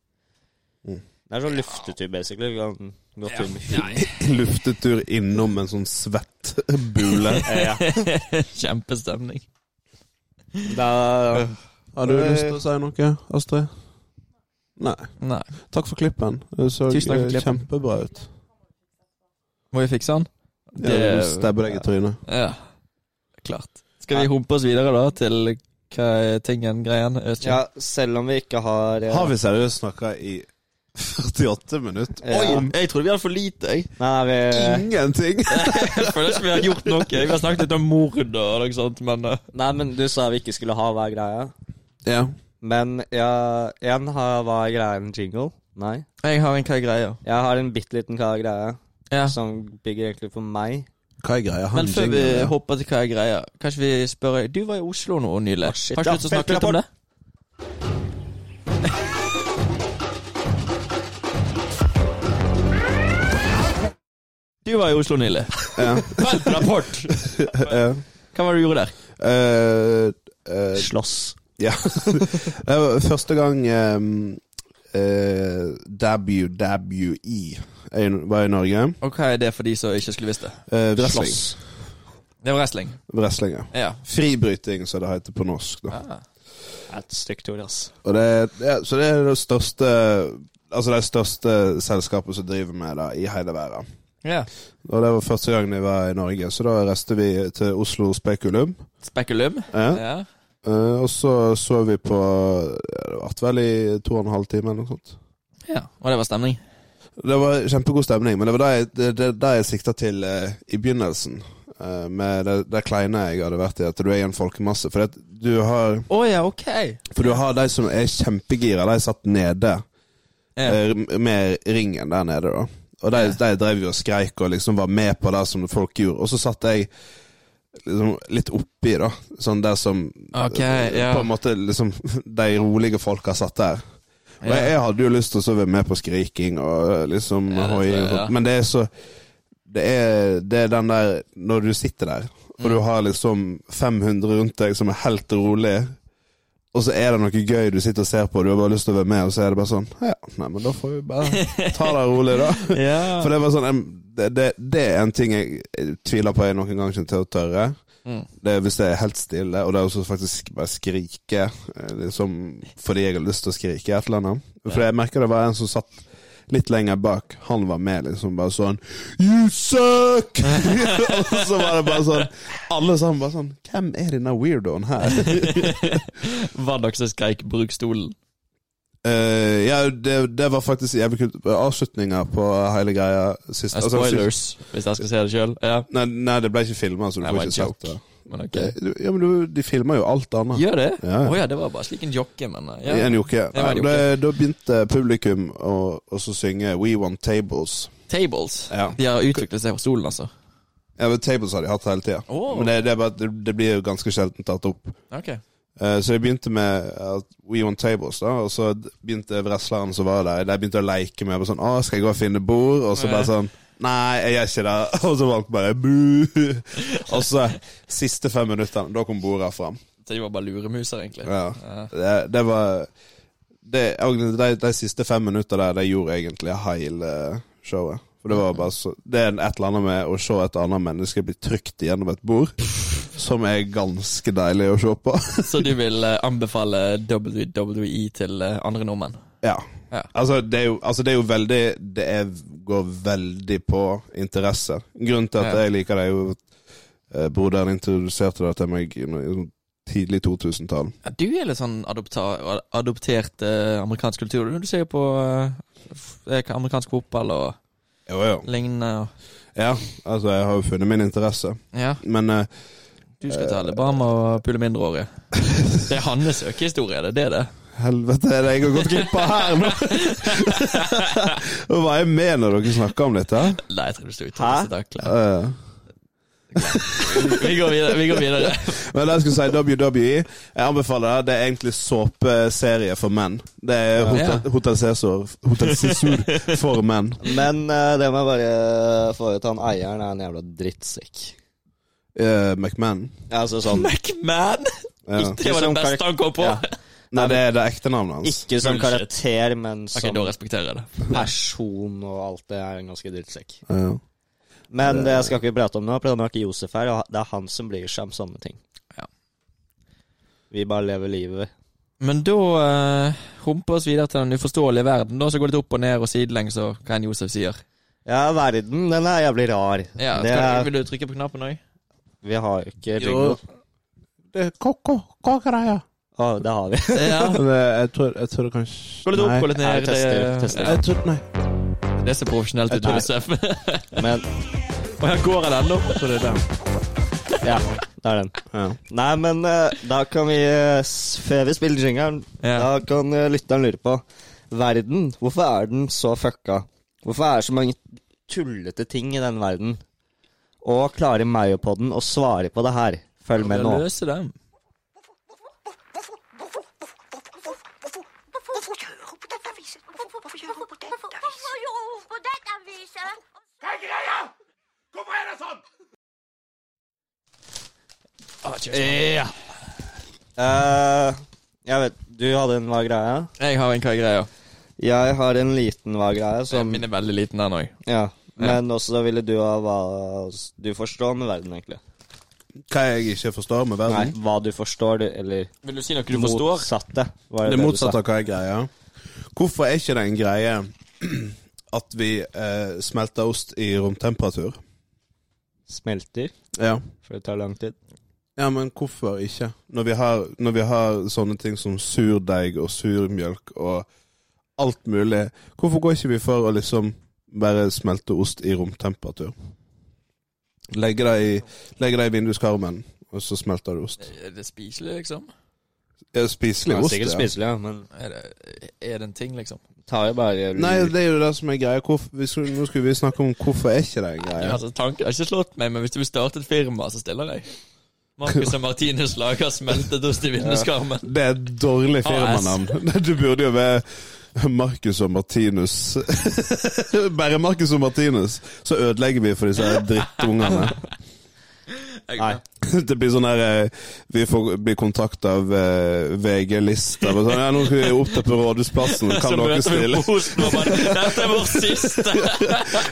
[SPEAKER 5] Mm.
[SPEAKER 6] Det er sånn luftetur, basically. Du kan gå tur med
[SPEAKER 5] Luftetur innom en sånn svett bule.
[SPEAKER 6] ja.
[SPEAKER 4] Kjempestemning.
[SPEAKER 6] Da
[SPEAKER 5] Har du lyst til å si noe, Astrid? Nei.
[SPEAKER 4] Nei.
[SPEAKER 5] Takk for klippen. Det så
[SPEAKER 4] Tusen takk for
[SPEAKER 5] eh,
[SPEAKER 4] klippen.
[SPEAKER 5] kjempebra ut.
[SPEAKER 4] Må vi fikse den?
[SPEAKER 5] Jeg vil stabbe deg i trynet.
[SPEAKER 4] Ja. Klart. Skal vi humpe oss videre, da, til hva er tingen, greien? Jeg vet ikke.
[SPEAKER 6] ja, selv om vi ikke har eh,
[SPEAKER 5] Har vi seriøst snakka i 48 minutter?
[SPEAKER 6] Ja.
[SPEAKER 5] Oi!
[SPEAKER 4] Jeg trodde vi hadde for lite, jeg.
[SPEAKER 6] Nei, vi
[SPEAKER 4] eh,
[SPEAKER 5] Ingenting!
[SPEAKER 4] Jeg føler ikke vi har gjort noe. Vi har snakket litt om mord og noe sånt, men eh,
[SPEAKER 6] Nei, men du sa vi ikke skulle ha hver greie.
[SPEAKER 5] Ja.
[SPEAKER 6] Men ja, en har hva er greia en jingle? Nei.
[SPEAKER 4] Jeg har en hva er greia.
[SPEAKER 6] Jeg har en bitte liten hva er greia,
[SPEAKER 4] Ja.
[SPEAKER 6] som bygger egentlig på meg.
[SPEAKER 5] Hva er greia?
[SPEAKER 4] Men
[SPEAKER 5] Han
[SPEAKER 4] før vi
[SPEAKER 5] jingler, ja.
[SPEAKER 4] hopper til hva er greia, kanskje vi spør Du var i Oslo nå nylig.
[SPEAKER 6] Å, shit,
[SPEAKER 4] har ikke
[SPEAKER 6] ja.
[SPEAKER 4] du lyst til å snakke litt om det? Du var i Oslo nylig.
[SPEAKER 5] Ja. Eh,
[SPEAKER 4] Feltrapport!
[SPEAKER 5] Ja.
[SPEAKER 4] Hva var det du gjorde der?
[SPEAKER 5] Eh, eh,
[SPEAKER 6] Slåss.
[SPEAKER 5] Ja. Det var første gang um, uh, WWE E er i- var i Norge.
[SPEAKER 4] Og hva er det for de som ikke skulle visst det?
[SPEAKER 5] Eh, wrestling.
[SPEAKER 6] Slåss.
[SPEAKER 4] Det var wrestling.
[SPEAKER 5] Wrestling, ja.
[SPEAKER 4] Ja.
[SPEAKER 5] Fribryting, som det heter på norsk. Da.
[SPEAKER 6] Det er Et stygt ord, ass.
[SPEAKER 5] Og det, ja, så det er det største Altså det største selskapet som driver med det i hele verden.
[SPEAKER 4] ja.
[SPEAKER 5] Og det var første gang de var i Norge, så da reiste vi til Oslo Spekulum.
[SPEAKER 4] Spekulum.
[SPEAKER 5] Ja.
[SPEAKER 4] Ja.
[SPEAKER 5] Eh, og så så vi på ja, Det varte vel i to og en halv time eller noe sånt.
[SPEAKER 4] ja. Og det var stemning.
[SPEAKER 5] Det var kjempegod stemning, men det var det jeg, det, det, det jeg sikta til eh, i begynnelsen. eh, med det, det kleine jeg hadde vært i, at du er i en folkemasse. For, det, at du, har,
[SPEAKER 4] Å ja, ok.
[SPEAKER 5] for du har de som er kjempegira, de satt nede
[SPEAKER 4] Ja.
[SPEAKER 5] eh, med ringen der nede. da Og de, de drev jo og skreik og liksom var med på det som folk gjorde. Og så satt jeg liksom litt oppi, da. Sånn der som
[SPEAKER 4] Ok, ja.
[SPEAKER 5] På en måte liksom de rolige folka satt der. Og
[SPEAKER 4] Ja.
[SPEAKER 5] jeg, jeg hadde jo lyst til å så være med på skriking og liksom
[SPEAKER 4] Ja, det tror
[SPEAKER 5] hoiing,
[SPEAKER 4] jeg,
[SPEAKER 5] og sånt,
[SPEAKER 4] ja.
[SPEAKER 5] men det er så det er, det er den der Når du sitter der,
[SPEAKER 4] Mm.
[SPEAKER 5] og du har liksom 500 rundt deg som er helt rolig, og så er det noe gøy du sitter og ser på, og du har bare lyst til å være med, og så er det bare sånn Ja, nei, men da får vi bare ta det rolig, da.
[SPEAKER 4] Ja.
[SPEAKER 5] For det var sånn em, det, det, det er en ting jeg jeg tviler på jeg noen gang kommer til å tørre.
[SPEAKER 4] Mm.
[SPEAKER 5] Det er hvis det er helt stille, og det er også faktisk bare skrike eh, liksom, fordi jeg har lyst til å skrike et eller annet. For jeg merker det var en som satt litt lenger bak. Han var med, liksom bare sånn You suck! og så var det bare sånn Alle sammen bare sånn Hvem er denne weirdoen her?
[SPEAKER 4] Var det dere som skreik 'bruk stolen'?
[SPEAKER 5] Eh, ja, det, det var faktisk jævlig kult. Avslutninga på hele greia sist. altså, sist-
[SPEAKER 4] Eh, Spoilers, hvis jeg skal se det sjøl. Ja.
[SPEAKER 5] Nei, nei, det ble ikke filma, så du
[SPEAKER 4] Nei,
[SPEAKER 5] får
[SPEAKER 4] det
[SPEAKER 5] ikke
[SPEAKER 4] var en
[SPEAKER 5] sett det.
[SPEAKER 4] joke. Men ok.
[SPEAKER 5] Det- du- Ja, men du, De filmer jo alt annet.
[SPEAKER 4] Gjør det? Å
[SPEAKER 5] Ja, ja.
[SPEAKER 4] ja, det var bare slik en jokke, men eh,
[SPEAKER 5] I
[SPEAKER 4] ja.
[SPEAKER 5] En joke.
[SPEAKER 4] var en
[SPEAKER 5] Nei, Da, da begynte publikum å å så synge We Want Tables.
[SPEAKER 4] Tables.
[SPEAKER 5] Ja.
[SPEAKER 4] De har utviklet seg fra stolen, altså.
[SPEAKER 5] Ja, men Tables har de hatt hele tida,
[SPEAKER 4] Åh.
[SPEAKER 5] men det, det, er bare, at det, det blir jo ganske sjelden tatt opp.
[SPEAKER 4] Ok.
[SPEAKER 5] Eh, Så jeg begynte med at We Want Tables, da og så begynte wrestleren som var der, de begynte å leke med bare sånn Å, skal jeg gå og finne bord? Og så bare sånn Nei, jeg gjør ikke det. Og så valgte bare bu. Og så siste fem minuttene, da kom bordet fram.
[SPEAKER 4] Eh, Så de var bare luremuser, egentlig.
[SPEAKER 5] Ja.
[SPEAKER 4] Ja.
[SPEAKER 5] Det, det var det, de, de siste fem minutter der, det gjorde egentlig hele showet. For det var bare så Det er et eller annet med å se et annet menneske bli trykt gjennom et bord, som er ganske deilig å se på.
[SPEAKER 4] Så du vil eh, anbefale WWE til eh, andre nordmenn?
[SPEAKER 5] Ja.
[SPEAKER 4] Ja.
[SPEAKER 5] Altså, det er jo, altså, det er jo veldig Det er, går veldig på interesse. Grunnen til at
[SPEAKER 4] Ja.
[SPEAKER 5] jeg liker det, er jo eh, Broderen introduserte det til meg i no- tidlig 2000-tall.
[SPEAKER 4] Ja, du er litt sånn adopta, adoptert eh, amerikansk kultur. Du ser jo på eh, f- eh, amerikansk fotball og
[SPEAKER 5] Jo, jo.
[SPEAKER 4] lignende. Og,
[SPEAKER 5] Ja, altså, jeg har jo funnet min interesse.
[SPEAKER 4] ja,
[SPEAKER 5] Men eh,
[SPEAKER 4] du skal til Alabama og pule mindreårige. Det er hans økehistorie, det er det det.
[SPEAKER 5] Helvete, er det jeg har gått glipp av her nå? Og Hva er jeg med når dere snakker om dette?
[SPEAKER 4] Nei, jeg tror du sto ut.
[SPEAKER 6] Hæ?
[SPEAKER 4] så takk.
[SPEAKER 5] Eh,
[SPEAKER 4] Vi går videre. Vi går videre.
[SPEAKER 5] men jeg skulle si WWE. Jeg anbefaler det. Det er egentlig såpeserie for menn. Det er
[SPEAKER 4] Ja.
[SPEAKER 5] Hotel, Hotel Cæsar Hotel Cæsar for menn.
[SPEAKER 6] Men eh, det må jeg bare få ut. Han eieren er en jævla drittsekk.
[SPEAKER 5] Eh, McMahon. Eh.
[SPEAKER 6] Ja, Altså sånn
[SPEAKER 4] McMahon!
[SPEAKER 5] Ja.
[SPEAKER 4] Det var det
[SPEAKER 6] Som
[SPEAKER 4] beste
[SPEAKER 6] karakter-
[SPEAKER 4] han kom på.
[SPEAKER 6] Ja.
[SPEAKER 5] Nei, det er det ekte navnet hans.
[SPEAKER 6] Ikke som
[SPEAKER 4] Bullshit.
[SPEAKER 6] karakter, men
[SPEAKER 4] Ok,
[SPEAKER 6] som
[SPEAKER 4] da respekterer jeg det.
[SPEAKER 6] person og alt det er en ganske drittsekk.
[SPEAKER 5] Ja.
[SPEAKER 6] Men det skal ikke vi prate om nå, for det har vært Josef her, og det er han som bryr seg om sånne ting.
[SPEAKER 4] Ja.
[SPEAKER 6] Vi bare lever livet.
[SPEAKER 4] Men da uh, humper oss videre til den uforståelige verden. Da så går det litt opp og ned og sidelengs og hva enn Josef sier.
[SPEAKER 6] Ja, verden, den er jævlig rar.
[SPEAKER 4] Ja,
[SPEAKER 6] det
[SPEAKER 4] skal,
[SPEAKER 6] er,
[SPEAKER 4] Vil du trykke på knappen òg?
[SPEAKER 6] vi har jo ikke
[SPEAKER 5] Jo.
[SPEAKER 6] jingle.
[SPEAKER 5] Det er ko-ko. Hva-greia?
[SPEAKER 6] Å, det har vi.
[SPEAKER 4] Ja.
[SPEAKER 5] Jeg tror, jeg tror det kanskje
[SPEAKER 4] Gå litt opp, gå litt
[SPEAKER 6] Nei,
[SPEAKER 4] ned.
[SPEAKER 6] tester, tester.
[SPEAKER 4] Ja,
[SPEAKER 5] Jeg tror, nei.
[SPEAKER 4] det ser profesjonelt ut,
[SPEAKER 6] Nei.
[SPEAKER 4] Josef.
[SPEAKER 6] Men
[SPEAKER 4] Og her går han ennå.
[SPEAKER 5] Jeg tror det er den.
[SPEAKER 6] ja, det er den.
[SPEAKER 5] Ja.
[SPEAKER 6] Nei, men eh, da kan vi eh, s- Før vi spiller jingeren,
[SPEAKER 4] Ja.
[SPEAKER 6] da kan eh, lytteren lure på Verden, hvorfor er den så fucka? Hvorfor er det så mange tullete ting i den verden? Og klarer Mayo-podden å svare på det her? Følg med nå.
[SPEAKER 4] Løse dem.
[SPEAKER 7] Hvorfor gjør hun på dette viset? Hvorfor gjør hun på dette viset?
[SPEAKER 8] på dette viset?
[SPEAKER 4] Ah, Ja.
[SPEAKER 6] Eh, jeg vet Du hadde en hva greie.
[SPEAKER 4] Jeg har en hva greie.
[SPEAKER 6] Jeg har en liten hva greie som
[SPEAKER 4] Min er veldig liten, den òg.
[SPEAKER 6] Ja. Men også ville du ha hva du forstår med verden, egentlig.
[SPEAKER 5] Hva jeg ikke forstår med
[SPEAKER 6] Nei,
[SPEAKER 5] verden?
[SPEAKER 6] hva du forstår, du, eller
[SPEAKER 4] Vil du si noe du forstår?
[SPEAKER 6] motsatte. var
[SPEAKER 5] Det
[SPEAKER 6] du
[SPEAKER 5] motsatte
[SPEAKER 6] sa.
[SPEAKER 5] av hva er greia. Hvorfor er ikke det en greie at vi eh, smelter ost i romtemperatur?
[SPEAKER 6] Smelter,
[SPEAKER 5] Ja.
[SPEAKER 6] for det tar lang tid.
[SPEAKER 5] ja, men hvorfor ikke? Når vi har, når vi har sånne ting som surdeig og surmjølk og alt mulig, hvorfor går ikke vi for å liksom bare smelte ost i romtemperatur? Legge det i, legge det i vinduskarmen, og så smelter det ost.
[SPEAKER 4] Er det spiselig, liksom?
[SPEAKER 5] Eh, Spiselig
[SPEAKER 6] Ja,
[SPEAKER 5] ost,
[SPEAKER 6] sikkert
[SPEAKER 5] ja.
[SPEAKER 6] spiselig, ja, men
[SPEAKER 4] Er det, er det en ting, liksom?
[SPEAKER 6] tar jo bare
[SPEAKER 5] Nei, det er jo det som er greia. Hvorfor, vi skulle- nå skulle vi snakke om hvorfor er ikke det en greie.
[SPEAKER 4] Altså, tanken har ikke slått meg, men hvis du vil starte et firma, så stiller jeg. Marcus og Martinus lager smeltet ost i vinduskarmen.
[SPEAKER 5] Det er et dårlig firmanavn. Du burde jo være Marcus og Martinus. Bare Marcus og Martinus, så ødelegger vi for disse her drittungene.
[SPEAKER 6] Nei.
[SPEAKER 5] Det blir sånn her eh, Vi får bli kontakta av eh, VG-lista. og Sånn, ja, 'Nå skal vi opp til på Rådhusplassen, kan dere stille?'
[SPEAKER 4] Osten og bare Dette er vår siste!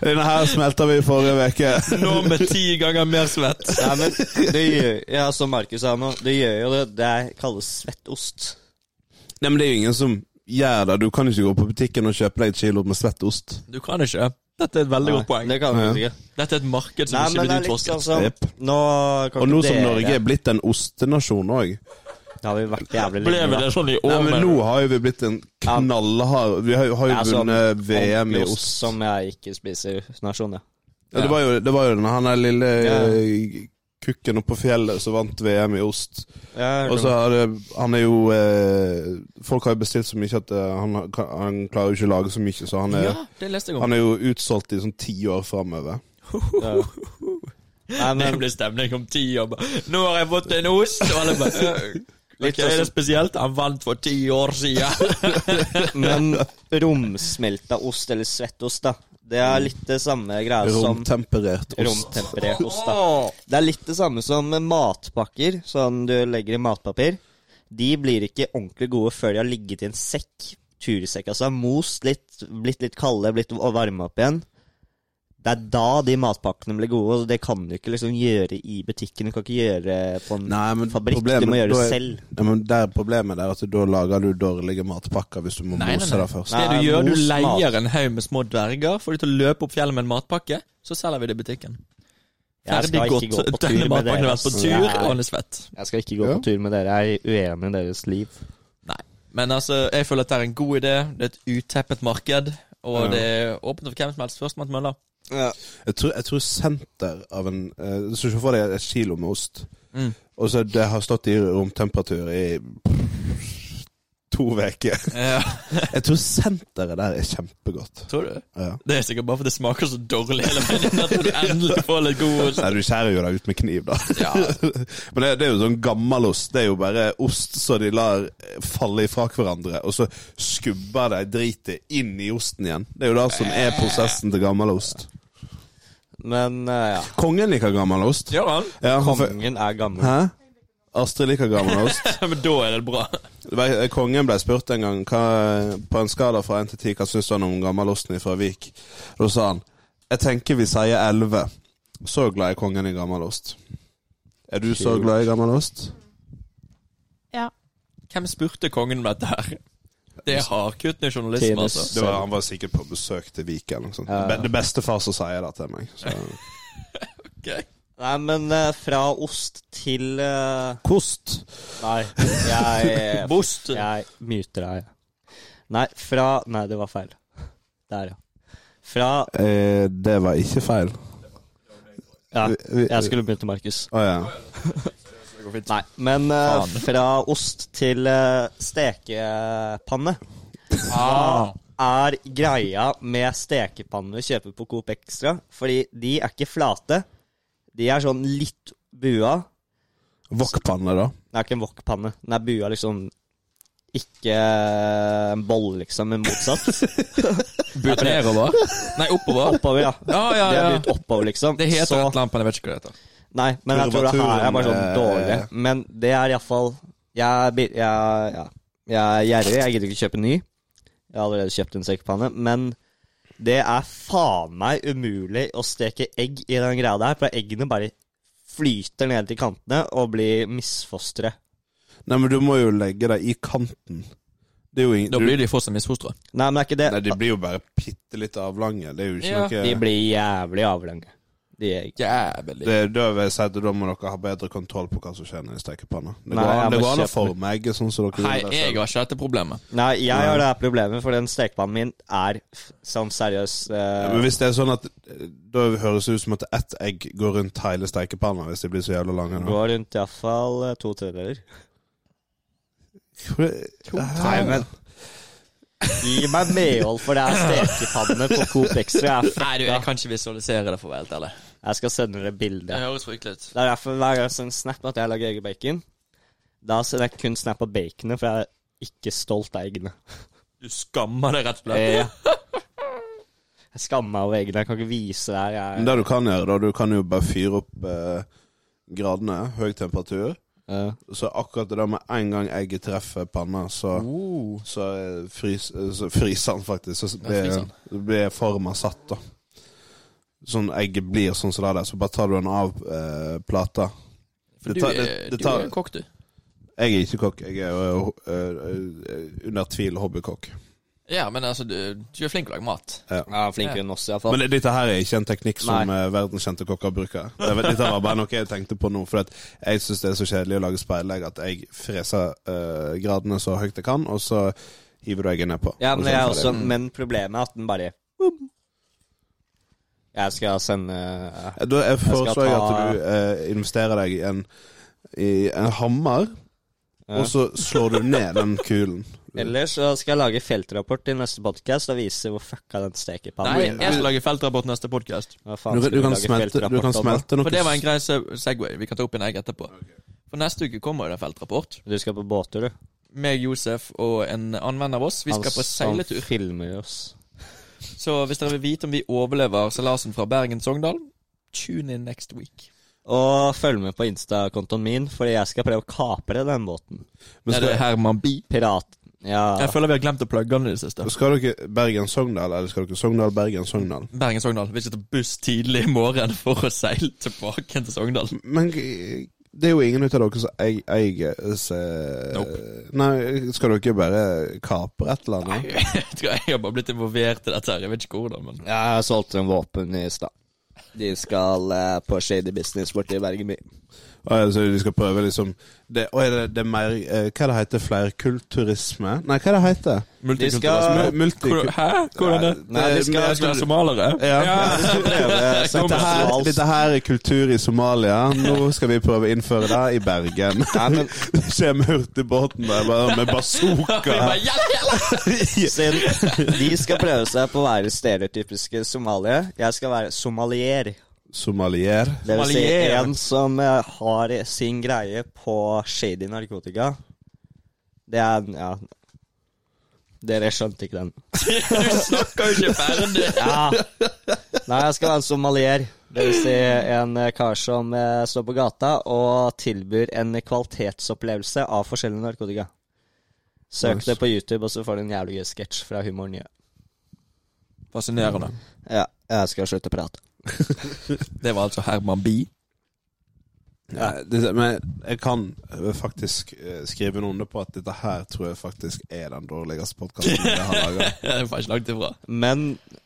[SPEAKER 5] Denne her smelta vi i forrige uke.
[SPEAKER 4] Nå med ti ganger mer svett.
[SPEAKER 6] Nei, men det gjør Ja, som Markus sa nå, det gjør jo det. Det er- kalles svettost.
[SPEAKER 5] Nei, men det er jo ingen som gjør det. Du kan ikke gå på butikken og kjøpe deg et kilo med svett ost.
[SPEAKER 4] Du kan ikke. Dette er et veldig
[SPEAKER 6] Nei,
[SPEAKER 4] godt poeng.
[SPEAKER 6] Det kan vi ikke.
[SPEAKER 4] Dette er et marked som
[SPEAKER 6] Nei,
[SPEAKER 4] ikke
[SPEAKER 6] men det
[SPEAKER 4] blir
[SPEAKER 6] er litt sånn
[SPEAKER 4] utforsket.
[SPEAKER 6] som
[SPEAKER 5] Jepp.
[SPEAKER 6] Nå kan
[SPEAKER 5] Og
[SPEAKER 6] ikke
[SPEAKER 5] nå som
[SPEAKER 6] dere-
[SPEAKER 5] Norge er blitt en ostenasjon òg
[SPEAKER 6] Det har vi vært jævlig
[SPEAKER 4] Ble
[SPEAKER 6] lenge,
[SPEAKER 4] vi
[SPEAKER 6] da.
[SPEAKER 4] det sånn i
[SPEAKER 5] Nei,
[SPEAKER 4] år?
[SPEAKER 5] men
[SPEAKER 4] men-
[SPEAKER 5] nå har jo vi blitt en knallhard Vi har jo, har jo
[SPEAKER 6] Jeg er sånn
[SPEAKER 5] vunnet VM i
[SPEAKER 6] ordentlig
[SPEAKER 5] ost.
[SPEAKER 6] Som jeg ikke spiser nasjon, ja.
[SPEAKER 5] Ja, det, var jo, det var jo den han der lille
[SPEAKER 6] Ja.
[SPEAKER 5] eh, kukken oppe på fjellet som vant VM i ost.
[SPEAKER 6] Jeg
[SPEAKER 5] Og så har det Han er jo eh, Folk har jo bestilt så mye at eh, han, har- han klarer jo ikke å lage så mye, så han er,
[SPEAKER 4] Ja, det leste jeg om.
[SPEAKER 5] han er jo utsolgt i sånn ti år framover.
[SPEAKER 6] Nei,
[SPEAKER 4] Det
[SPEAKER 6] men
[SPEAKER 4] blir stemning om ti år. bare, Nå har jeg fått en ost! Og alle bare «Øh,
[SPEAKER 6] Litt
[SPEAKER 4] «Hva Er det
[SPEAKER 6] sånn-
[SPEAKER 4] spesielt? Han vant for ti år siden.
[SPEAKER 6] Men romsmelta ost, eller svettost, da. Det er litt det samme greia som
[SPEAKER 5] Romtemperert ost.
[SPEAKER 6] romtemperert ost, da. Det er litt det samme som matpakker, sånn du legger i matpapir. De blir ikke ordentlig gode før de har ligget i en sekk. Tursekk, altså. Most litt, blitt litt kalde, blitt og varme opp igjen. Det er da de matpakkene blir gode, og det kan du ikke liksom gjøre i butikken. Du kan ikke gjøre på en
[SPEAKER 5] Nei, men
[SPEAKER 6] fabrikk.
[SPEAKER 5] problemet-
[SPEAKER 6] du må gjøre
[SPEAKER 5] da
[SPEAKER 6] det
[SPEAKER 5] er-
[SPEAKER 6] selv.
[SPEAKER 5] Ja, men der Problemet er at da lager du dårlige matpakker hvis du må
[SPEAKER 4] Nei, nei,
[SPEAKER 5] mose
[SPEAKER 4] nei.
[SPEAKER 5] det først.
[SPEAKER 4] Det
[SPEAKER 6] Nei,
[SPEAKER 4] du gjør, du
[SPEAKER 6] mos mat.
[SPEAKER 4] leier en haug med små dverger, får de til å løpe opp fjellet med en matpakke, så selger vi det i butikken.
[SPEAKER 6] Jeg skal
[SPEAKER 4] Ferdig
[SPEAKER 6] ikke
[SPEAKER 4] godt.
[SPEAKER 6] gå på tur
[SPEAKER 4] Denne
[SPEAKER 6] med
[SPEAKER 4] matpakken har
[SPEAKER 6] dere.
[SPEAKER 4] vært på
[SPEAKER 6] ass.
[SPEAKER 4] tur,
[SPEAKER 6] Nei.
[SPEAKER 4] og han er svett.
[SPEAKER 6] Jeg skal ikke gå
[SPEAKER 5] Ja.
[SPEAKER 6] på tur med dere. Jeg er uenig i deres liv.
[SPEAKER 4] Nei. Men altså, jeg føler at det er en god idé. Det er et utteppet marked, og
[SPEAKER 5] Ja.
[SPEAKER 4] det er åpent for hvem som helst. Førstemann til mølla.
[SPEAKER 5] Jeg tror, jeg tror senter av en eh, Så se for deg et kilo med ost.
[SPEAKER 4] Mm.
[SPEAKER 5] Og så det har stått i romtemperatur i to uker.
[SPEAKER 4] Ja,
[SPEAKER 5] Jeg tror senteret der er kjempegodt.
[SPEAKER 4] tror du?
[SPEAKER 5] Ja.
[SPEAKER 4] Det er sikkert bare fordi det smaker så dårlig hele veien at du endelig får litt god ost.
[SPEAKER 5] Nei, du skjærer jo deg ut med kniv, da.
[SPEAKER 4] Ja.
[SPEAKER 5] Men det, det er jo sånn gammel ost. Det er jo bare ost så de lar falle ifra hverandre, og så skubber de dritet inn i osten igjen. Det er jo det som er prosessen til gammel ost.
[SPEAKER 6] Men eh, ja.
[SPEAKER 5] Kongen liker gammel ost.
[SPEAKER 4] Gjør han?
[SPEAKER 5] Ja, han får-
[SPEAKER 6] Kongen er gammel.
[SPEAKER 5] Hæ? Astrid liker gammel ost.
[SPEAKER 4] Men da er det bra.
[SPEAKER 5] Det var- Kongen ble spurt en gang hva, på en skala fra 1 til 10 hva syns han om gammelosten fra Vik. Da sa han jeg tenker vi sier 11. Så glad er kongen i gammelost. Er du så glad i gammelost?
[SPEAKER 4] Hvem spurte kongen om dette her? Det er hardkuttende journalisme,
[SPEAKER 6] Tennis.
[SPEAKER 4] altså.
[SPEAKER 5] Det var, han var sikkert på besøk til Vik eller noe sånt.
[SPEAKER 6] Ja.
[SPEAKER 5] Det be- Det beste far som sier det til meg. Så.
[SPEAKER 6] Nei, men eh, fra ost til eh,
[SPEAKER 5] Kost.
[SPEAKER 6] Nei, jeg eh,
[SPEAKER 4] Bost.
[SPEAKER 6] Jeg myter deg. Nei, fra Nei, det var feil. Der, ja. Fra
[SPEAKER 5] Eh, det var ikke feil.
[SPEAKER 6] Ja,
[SPEAKER 5] Vi- vi-
[SPEAKER 6] jeg skulle begynt, Markus.
[SPEAKER 5] Å ja.
[SPEAKER 6] Nei, men eh,
[SPEAKER 4] Faen.
[SPEAKER 6] fra ost til eh, stekepanne er greia med stekepannene du kjøper på Coop Extra. Fordi de er ikke flate. De er sånn litt bua.
[SPEAKER 5] Wokpanne, da.
[SPEAKER 6] Det er ikke en wokpanne. Den er bua liksom ikke en bolle, liksom, men motsatt.
[SPEAKER 4] Buet nedover? Nei, oppover.
[SPEAKER 6] Oppover, ja.
[SPEAKER 4] Ja, ja,
[SPEAKER 6] Det
[SPEAKER 4] ja.
[SPEAKER 6] er buet oppover, liksom.
[SPEAKER 4] Det heter
[SPEAKER 6] Så-
[SPEAKER 4] et eller annet, men jeg vet ikke hva det heter.
[SPEAKER 6] Nei, men jeg tror det her er bare sånn
[SPEAKER 5] Kurvaturen,
[SPEAKER 6] dårlig.
[SPEAKER 5] eh,
[SPEAKER 6] Men det er iallfall Jeg er bi- jeg- ja. Jeg er gjerrig, jeg gidder ikke kjøpe ny. Jeg har allerede kjøpt en sekkepanne. Men det er faen meg umulig å steke egg i den greia der, for eggene bare flyter ned til kantene og blir misfostre.
[SPEAKER 5] Nei, men du må jo legge det i kanten. Det er jo ingen
[SPEAKER 4] Da
[SPEAKER 5] du-
[SPEAKER 4] blir de fortsatt misfostra.
[SPEAKER 6] Nei, men det er ikke det.
[SPEAKER 5] Nei, de blir jo bare bitte litt avlange. Det er jo ikke
[SPEAKER 4] Ja.
[SPEAKER 5] noe
[SPEAKER 6] De blir jævlig avlange. De egg.
[SPEAKER 4] Jævlig.
[SPEAKER 5] Det, da vil jeg si at da må dere ha bedre kontroll på hva som skjer nedi stekepanna. Det
[SPEAKER 6] Nei,
[SPEAKER 5] går
[SPEAKER 6] jeg
[SPEAKER 5] an- det
[SPEAKER 6] må
[SPEAKER 5] går an å
[SPEAKER 6] kjøpe-
[SPEAKER 5] forme egget sånn som dere
[SPEAKER 4] Hei,
[SPEAKER 5] gjorde
[SPEAKER 4] jeg
[SPEAKER 5] selv.
[SPEAKER 4] har ikke dette problemet.
[SPEAKER 6] Nei, jeg har det her problemet, for den stekepannen min er f- sånn seriøs
[SPEAKER 5] Ja,
[SPEAKER 6] eh,
[SPEAKER 5] Men hvis det er sånn at eh, Da høres det ut som at ett egg går rundt hele stekepanna hvis de blir så jævla lange. nå.
[SPEAKER 6] Går rundt iallfall to tredjedeler.
[SPEAKER 5] Nei, men
[SPEAKER 6] Gi meg medhold for det er stekepanne på Coop Extra. Jeg,
[SPEAKER 4] Nei, du,
[SPEAKER 6] er
[SPEAKER 4] jeg
[SPEAKER 6] fucka.
[SPEAKER 4] kan ikke visualisere det, for å være helt ærlig.
[SPEAKER 6] jeg skal sende dere
[SPEAKER 4] Det
[SPEAKER 6] bilde.
[SPEAKER 4] høres fryktelig ut.
[SPEAKER 6] Det er derfor hver gang jeg sender snap at jeg lager egen bacon, da sender jeg kun snap av baconet, for jeg er ikke stolt av eggene.
[SPEAKER 4] Du skammer deg rett og slett.
[SPEAKER 6] Eh, Jeg skammer meg over eggene. Jeg kan ikke vise det her.
[SPEAKER 5] men
[SPEAKER 6] Jeg,
[SPEAKER 5] det du kan gjøre, da, du kan jo bare fyre opp eh, gradene, høy temperatur.
[SPEAKER 6] Eh,
[SPEAKER 5] Så akkurat det der med en gang egget treffer panna, så,
[SPEAKER 4] Oh.
[SPEAKER 5] så, eh, frys, eh, så fryser den faktisk. Så blir,
[SPEAKER 4] fryser den.
[SPEAKER 5] så blir forma satt, da. Sånn egget blir sånn som det er der, så bare tar du den av eh, plata.
[SPEAKER 4] For
[SPEAKER 5] Det
[SPEAKER 4] du,
[SPEAKER 5] tar-
[SPEAKER 4] er-
[SPEAKER 5] det- det
[SPEAKER 4] du
[SPEAKER 5] tar-
[SPEAKER 4] er kokk, du.
[SPEAKER 5] Jeg er ikke kokk, jeg er jo, eh, eh, under tvil hobbykokk.
[SPEAKER 4] Ja, men altså, du, du er flink til å lage mat.
[SPEAKER 6] jeg er flinkere enn oss, iallfall.
[SPEAKER 5] Men dette her er ikke en teknikk som eh, verdenskjente kokker bruker. Det var- Dette var bare noe jeg tenkte på nå, for at jeg syns det er så kjedelig å lage speilegg at jeg freser eh, gradene så høyt jeg kan, og så hiver du egget nedpå.
[SPEAKER 6] Ja,
[SPEAKER 5] Og
[SPEAKER 6] men,
[SPEAKER 5] så
[SPEAKER 6] jeg er
[SPEAKER 5] ferdig.
[SPEAKER 6] også, men problemet er at den bare Jeg skal sende eh,
[SPEAKER 5] Da jeg foreslår jeg
[SPEAKER 6] ta-
[SPEAKER 5] at du eh, investerer deg i en, i en hammer,
[SPEAKER 6] Ja.
[SPEAKER 5] og så slår du ned den kulen.
[SPEAKER 6] Ellers så skal jeg lage feltrapport til neste podkast og vise hvor fucka den stekepannen
[SPEAKER 4] Nei,
[SPEAKER 6] min er.
[SPEAKER 4] jeg skal lage feltrapport neste podkast.
[SPEAKER 6] Hva faen
[SPEAKER 5] Du,
[SPEAKER 6] skal
[SPEAKER 5] du,
[SPEAKER 6] vi
[SPEAKER 5] kan
[SPEAKER 6] lage
[SPEAKER 5] smelte, du
[SPEAKER 6] feltrapport
[SPEAKER 5] kan
[SPEAKER 6] om da?
[SPEAKER 5] smelte noe
[SPEAKER 4] For det var en grei se- segway. Vi kan ta opp en egg etterpå. For neste uke kommer jo det en feltrapport.
[SPEAKER 6] Du skal på båttur, du.
[SPEAKER 4] Meg, Josef og en annen venn av oss. Vi skal
[SPEAKER 6] Han-
[SPEAKER 4] på seiletur.
[SPEAKER 6] Han filmer oss.
[SPEAKER 4] Så hvis dere vil vite om vi overlever seilasen fra Bergen til Sogndal, tune in next week.
[SPEAKER 6] Og følg med på Insta-kontoen min, fordi jeg skal prøve å kapre den båten.
[SPEAKER 5] Men
[SPEAKER 4] Er det
[SPEAKER 5] skal,
[SPEAKER 4] Herman Bi?
[SPEAKER 6] Pirat... Ja.
[SPEAKER 4] Jeg føler vi har glemt å plugge den i det siste.
[SPEAKER 5] skal dere Bergen-Sogndal, eller skal dere Sogndal-Bergen-Sogndal?
[SPEAKER 4] Bergen-Sogndal. Vi sitter buss tidlig i morgen for å seile tilbake til Sogndal.
[SPEAKER 5] Men g- det er jo ingen ut av dere som eier eier eh, se-
[SPEAKER 4] Nope.
[SPEAKER 5] Nei, skal dere bare kapre et eller annet?
[SPEAKER 4] Jeg tror jeg har bare blitt involvert i dette her. Jeg vet ikke hvordan, men
[SPEAKER 6] Jeg solgte en våpen i stad. De skal eh, på Shady Business borti Bergen by.
[SPEAKER 5] Å, ja, så de skal prøve liksom det, å, er det, det er mer eh, Hva er det heter? Flerkulturisme? Nei, hva er det heter?
[SPEAKER 6] De
[SPEAKER 4] Multikulturalisme.
[SPEAKER 6] skal
[SPEAKER 5] Mul- Multikultur...
[SPEAKER 4] Hvor- Hæ? Hvordan er det?
[SPEAKER 6] Nei, de skal,
[SPEAKER 4] Jeg skal være somalere?
[SPEAKER 5] sånn- Ja.
[SPEAKER 6] prøve
[SPEAKER 5] Dette her,
[SPEAKER 6] sentralt
[SPEAKER 5] dette her er kultur i Somalia. Nå skal vi prøve å innføre det i Bergen. Det skjer med hurtigbåten der, bare med
[SPEAKER 4] Vi
[SPEAKER 5] bazooka.
[SPEAKER 4] bare, hjelp, hjelp!
[SPEAKER 6] Siden de skal prøve seg på å være stereotypiske somalier. Jeg skal være somalier.
[SPEAKER 5] Somalier.
[SPEAKER 6] Det vil si
[SPEAKER 4] Somalier.
[SPEAKER 6] en som eh, har sin greie på shady narkotika. Det er Ja. Dere skjønte ikke den.
[SPEAKER 4] Du snakker jo ikke ferdig!
[SPEAKER 6] Ja. Nei, jeg skal være en somalier. Det vil si en eh, kar som eh, står på gata og tilbyr en kvalitetsopplevelse av forskjellig narkotika. Søk
[SPEAKER 5] Nice.
[SPEAKER 6] det på YouTube, og så får du en jævlig gøy sketsj fra Humor Nye.
[SPEAKER 4] Fascinerende.
[SPEAKER 6] Ja, jeg skal slutte å prate.
[SPEAKER 4] Det var altså Herman Bi.
[SPEAKER 5] Ja, det, men jeg kan eh, faktisk eh, skrive under på at dette her tror jeg faktisk er den dårligste podkasten jeg har laga.
[SPEAKER 4] Jeg var ikke langt ifra.
[SPEAKER 6] Men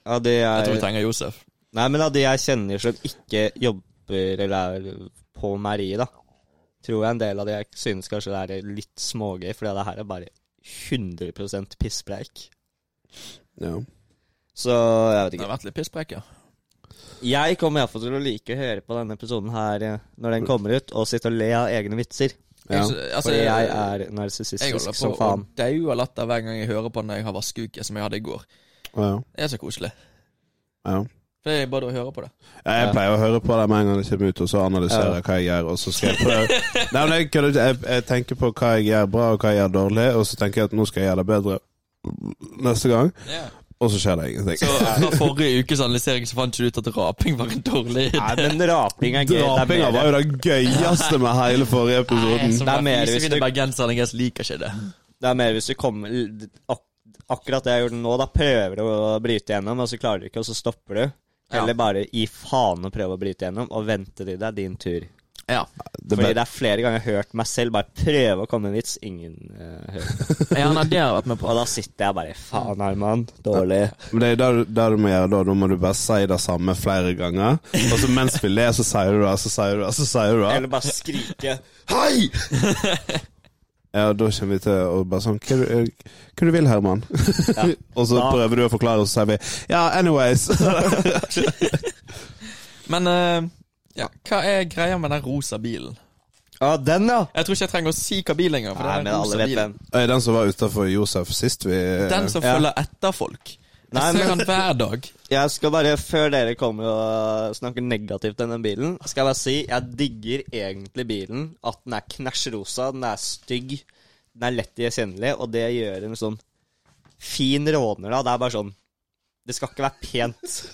[SPEAKER 6] av de
[SPEAKER 4] Jeg tror vi
[SPEAKER 6] jeg,
[SPEAKER 4] trenger Josef.
[SPEAKER 6] nei, men av de jeg kjenner som ikke jobber eller er på meieriet, da, tror jeg en del av de jeg synes kanskje det er litt smågøy, fordi det her er bare 100 pisspreik.
[SPEAKER 5] Ja.
[SPEAKER 6] Så jeg vet ikke.
[SPEAKER 4] Det har vært litt pisspreik, ja.
[SPEAKER 6] Jeg kommer iallfall til å like å høre på denne episoden her eh, når den kommer ut, og sitte og le av egne vitser.
[SPEAKER 5] Ja.
[SPEAKER 4] Jeg- altså,
[SPEAKER 6] fordi jeg
[SPEAKER 4] jeg
[SPEAKER 6] er narsissistisk
[SPEAKER 4] holder
[SPEAKER 6] som
[SPEAKER 4] på å
[SPEAKER 6] faen.
[SPEAKER 4] daue av latter hver gang jeg hører på den når jeg har vaskeuke, som jeg hadde i går.
[SPEAKER 5] Ja,
[SPEAKER 4] Det er så koselig.
[SPEAKER 5] ja.
[SPEAKER 4] For Det er bare å høre på det.
[SPEAKER 5] Jeg pleier å høre på det med en gang det kommer ut, og så analyserer jeg hva jeg gjør. Og så skal jeg prøve Nei, men jeg, kødder ikke. jeg, jeg tenker på hva jeg gjør bra, og hva jeg gjør dårlig, og så tenker jeg at nå skal jeg gjøre det bedre neste gang, og så skjer
[SPEAKER 4] Så
[SPEAKER 5] det
[SPEAKER 4] eh,
[SPEAKER 5] ingenting.
[SPEAKER 4] Fra forrige ukes analysering så fant du ut at raping var en dårlig idé.
[SPEAKER 6] Nei, men raping er gøy. Det
[SPEAKER 5] Drapinga var
[SPEAKER 6] er mer,
[SPEAKER 5] jo det gøyeste med hele forrige episoden.
[SPEAKER 4] Som
[SPEAKER 6] Det er mer hvis
[SPEAKER 4] fisevide
[SPEAKER 6] du-
[SPEAKER 4] bergenserne jeg liker ikke det.
[SPEAKER 6] det er mer hvis du kommer l- ak Akkurat det jeg gjorde nå, da prøver du å bryte gjennom, og så klarer du ikke, og så stopper du. Eller bare gi faen og prøve å bryte gjennom, og vente til det er din tur.
[SPEAKER 4] Ja.
[SPEAKER 5] Det
[SPEAKER 6] Fordi
[SPEAKER 5] ble-
[SPEAKER 6] det er flere ganger jeg har hørt meg selv bare prøve å komme med en vits. Ingen eh, hører.
[SPEAKER 4] ja nei, det har jeg vært med på.
[SPEAKER 6] Og da sitter jeg bare Faen, Herman. Dårlig.
[SPEAKER 5] Men det er det, du- det du må gjøre da. Da må du bare si det samme flere ganger. Og så mens vi ler, så sier du det, så sier du det, så sier du det.
[SPEAKER 6] Eller bare skrike.
[SPEAKER 5] Hei! Ja, da kommer vi til å bare sånn Hva, du- eh, hva du vil, Herman? og så
[SPEAKER 6] Da-
[SPEAKER 5] prøver du å forklare, og så sier vi Ja, anyways.
[SPEAKER 4] Men eh, ja, hva er greia med den rosa bilen?
[SPEAKER 6] Ja, den, ja.
[SPEAKER 4] Jeg tror ikke jeg trenger å si hva bil engang. for det
[SPEAKER 6] Nei,
[SPEAKER 4] er
[SPEAKER 6] men
[SPEAKER 4] en rosa
[SPEAKER 6] alle vet
[SPEAKER 4] bil.
[SPEAKER 6] hvem.
[SPEAKER 5] Eh, Den som var utafor Josef sist vi eh,
[SPEAKER 4] Den som
[SPEAKER 6] Ja.
[SPEAKER 4] følger etter folk. Jeg
[SPEAKER 6] Nei,
[SPEAKER 4] ser
[SPEAKER 6] men-
[SPEAKER 4] han hver dag.
[SPEAKER 6] Jeg skal bare, før dere kommer og snakker negativt om den bilen, skal jeg bare si jeg digger egentlig bilen. At den er knæsjrosa, den er stygg, den er lett gjenkjennelig, og det gjør en sånn fin råner, da. Det er bare sånn Det skal ikke være pent.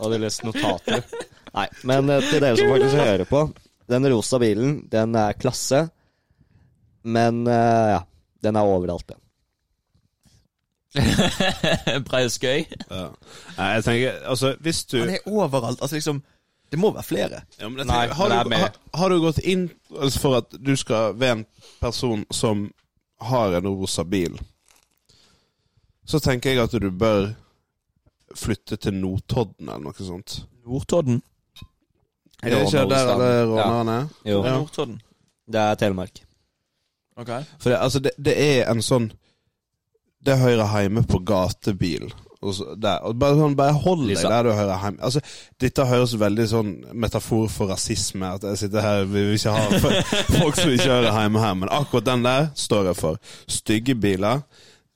[SPEAKER 6] Hadde lest notater. Nei, men eh, til dere som faktisk hører på. Den rosa bilen, den er klasse. Men eh, ja. Den er overalt, den.
[SPEAKER 4] Breiskøy.
[SPEAKER 5] ja. Nei, jeg tenker Altså, hvis du
[SPEAKER 4] Han er overalt. Altså liksom Det må være flere.
[SPEAKER 5] Ja, men jeg
[SPEAKER 6] Nei,
[SPEAKER 5] tenker, har,
[SPEAKER 6] men det er
[SPEAKER 5] du,
[SPEAKER 6] mer.
[SPEAKER 5] har, har du gått inn altså for at du skal være en person som har en rosa bil, så tenker jeg at du bør flytte til Notodden eller noe sånt.
[SPEAKER 4] Nordtodden.
[SPEAKER 5] Er det ikke der alle rånerne er?
[SPEAKER 6] Jo.
[SPEAKER 5] Ja.
[SPEAKER 4] Nordtodden.
[SPEAKER 6] Det er Telemark.
[SPEAKER 4] Ok.
[SPEAKER 5] For det, altså, det, det er en sånn Det hører hjemme på gatebil. Og så, der. Og bare, sånn, bare hold deg
[SPEAKER 6] Lisa.
[SPEAKER 5] der du hører hjemme. Altså, dette høres veldig sånn metafor for rasisme. At jeg sitter her vi vil ikke ha fo- folk som ikke hører hjemme her. Men akkurat den der står jeg for. Stygge biler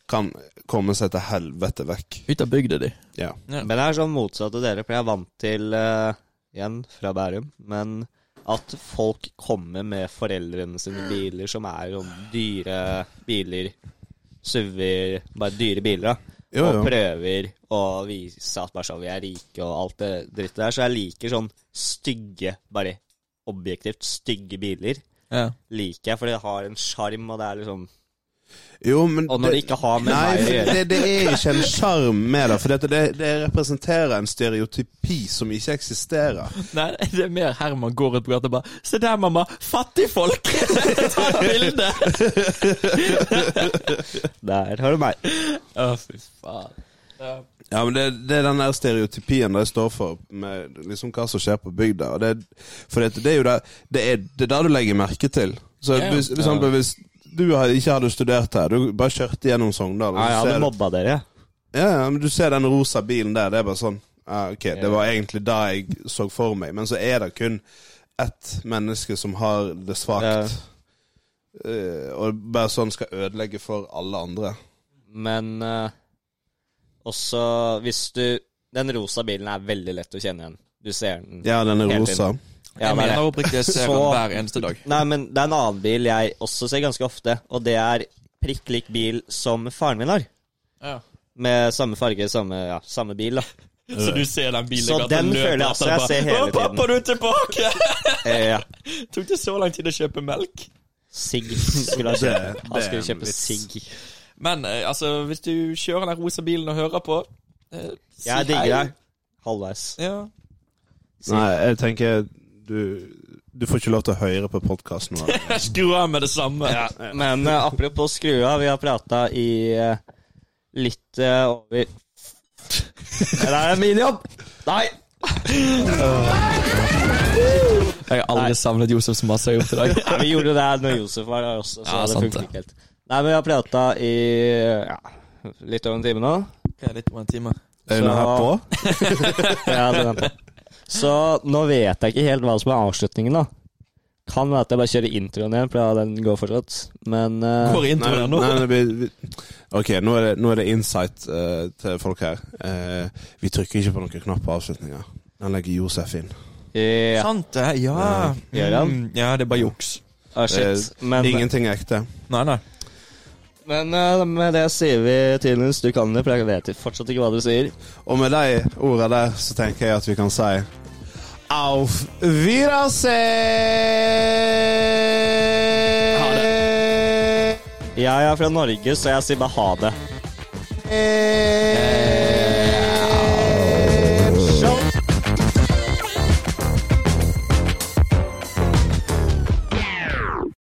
[SPEAKER 5] kan komme seg til helvete vekk.
[SPEAKER 4] Ut av bygda di.
[SPEAKER 5] Ja.
[SPEAKER 6] Men det er sånn motsatt av dere, for jeg er vant til, eh, igjen fra Bærum, men at folk kommer med foreldrene sine biler som er sånn dyre biler, suver, bare dyre biler da.
[SPEAKER 5] Jo,
[SPEAKER 6] og
[SPEAKER 5] jo.
[SPEAKER 6] prøver å vise at bare sånn, vi er rike og alt det drittet der. Så jeg liker sånn stygge, bare objektivt stygge biler.
[SPEAKER 4] Ja.
[SPEAKER 6] Liker jeg, fordi det har en sjarm, og det er liksom
[SPEAKER 5] jo men
[SPEAKER 6] Og når det ikke har med
[SPEAKER 5] Nei,
[SPEAKER 6] meg å
[SPEAKER 5] for
[SPEAKER 6] gjøre.
[SPEAKER 5] det, det er ikke en sjarm med det. For dette- det, det representerer en stereotypi som ikke eksisterer.
[SPEAKER 4] Nei, det er mer Herman går ut på gata og bare Se der, mamma! Fattigfolk! Ta et bilde!
[SPEAKER 6] Der har du meg.
[SPEAKER 4] Å, fy faen.
[SPEAKER 5] Ja, men det, det er den der stereotypien det står for, med liksom hva som skjer på bygda. Og det, for det, det er jo det, det er det er der du legger merke til. Så
[SPEAKER 4] Ja, ja.
[SPEAKER 5] hvis, for eksempel, hvis du har- ikke hadde studert her, du bare kjørte gjennom Sogndal og
[SPEAKER 6] Nei, jeg
[SPEAKER 5] så ser
[SPEAKER 6] hadde
[SPEAKER 5] du-
[SPEAKER 6] mobba dere.
[SPEAKER 5] ja, ja, men du ser den rosa bilen der, det er bare sånn ah, Ok, det var egentlig det jeg så for meg, men så er det kun ett menneske som har det svakt. Eh, og bare sånn skal ødelegge for alle andre.
[SPEAKER 6] Men eh, også hvis du Den rosa bilen er veldig lett å kjenne igjen. Du ser den.
[SPEAKER 5] Ja, den er
[SPEAKER 6] Helt
[SPEAKER 5] rosa.
[SPEAKER 6] Ja,
[SPEAKER 4] Jeg
[SPEAKER 6] det er det.
[SPEAKER 4] mener oppriktig jeg ser den
[SPEAKER 6] Så-
[SPEAKER 4] hver eneste dag.
[SPEAKER 6] Nei, men det er en annen bil jeg også ser ganske ofte, og det er prikk lik bil som faren min har.
[SPEAKER 4] Ja.
[SPEAKER 6] Med samme farge, samme, ja, samme bil, da.
[SPEAKER 4] Så du ser den bilen
[SPEAKER 6] Så
[SPEAKER 4] i gata,
[SPEAKER 6] den
[SPEAKER 4] løper
[SPEAKER 6] føler
[SPEAKER 4] etter
[SPEAKER 6] jeg også jeg
[SPEAKER 4] bare,
[SPEAKER 6] ser hele
[SPEAKER 4] «Å, Pappa,
[SPEAKER 6] tiden.»
[SPEAKER 4] du er tilbake!
[SPEAKER 6] Eh, ja.
[SPEAKER 4] Tok det så lang tid å kjøpe melk?
[SPEAKER 6] Sigg skulle han
[SPEAKER 5] Det-
[SPEAKER 6] kjøpe.
[SPEAKER 5] det
[SPEAKER 6] Han
[SPEAKER 5] er
[SPEAKER 6] skulle
[SPEAKER 5] en
[SPEAKER 6] kjøpe
[SPEAKER 5] vits.
[SPEAKER 6] sigg.
[SPEAKER 4] Men eh, altså, hvis du kjører den rosa bilen og hører på eh, si
[SPEAKER 6] Jeg digger
[SPEAKER 4] hei.
[SPEAKER 6] deg. Halvveis.
[SPEAKER 4] Ja.
[SPEAKER 5] Nei, jeg tenker du, du får ikke lov til å høre på podkasten vår.
[SPEAKER 4] Skru av med det samme.
[SPEAKER 6] Men eh, apropos skru av, vi har prata i eh, litt eh, over Det der er min jobb! Nei!
[SPEAKER 4] Jeg har aldri savnet Josef så masse jeg har gjort i dag.
[SPEAKER 6] Nei, Vi gjorde det når Josef var der også, så
[SPEAKER 4] Ja,
[SPEAKER 6] det
[SPEAKER 4] sant
[SPEAKER 6] funket
[SPEAKER 4] det.
[SPEAKER 6] ikke helt. Nei, men vi har prata i ja, litt over en time nå.
[SPEAKER 4] Ok, litt over en time.
[SPEAKER 5] Er du her på?
[SPEAKER 6] Ja, den er på. Så nå vet jeg ikke helt hva som er avslutningen, da. Kan være at jeg bare kjører introen igjen, for ja, den går fortsatt. Men eh,
[SPEAKER 4] Går inn til
[SPEAKER 5] Nei,
[SPEAKER 4] den nå.
[SPEAKER 5] nei, nei, vi, vi, ok, nå er det, nå er det insight eh, til folk her. Eh, vi trykker ikke på noen knapp på avslutninga. Den legger Josef inn.
[SPEAKER 6] ja.
[SPEAKER 4] Sant det, ja.
[SPEAKER 6] Gjør han?
[SPEAKER 4] Mm, Ja, det er bare juks.
[SPEAKER 6] ah, shit.
[SPEAKER 5] Det
[SPEAKER 4] Eh,
[SPEAKER 6] Men,
[SPEAKER 5] Ingenting er ekte.
[SPEAKER 4] Nei, nei.
[SPEAKER 6] men eh, med det sier vi Tinus, du kan det, for jeg vet fortsatt ikke hva du sier.
[SPEAKER 5] Og med de orda der så tenker jeg at vi kan si Auf Wiedersehen!
[SPEAKER 4] Ha det.
[SPEAKER 6] Jeg er fra Norge, så jeg sier bare ha det.
[SPEAKER 5] Eh.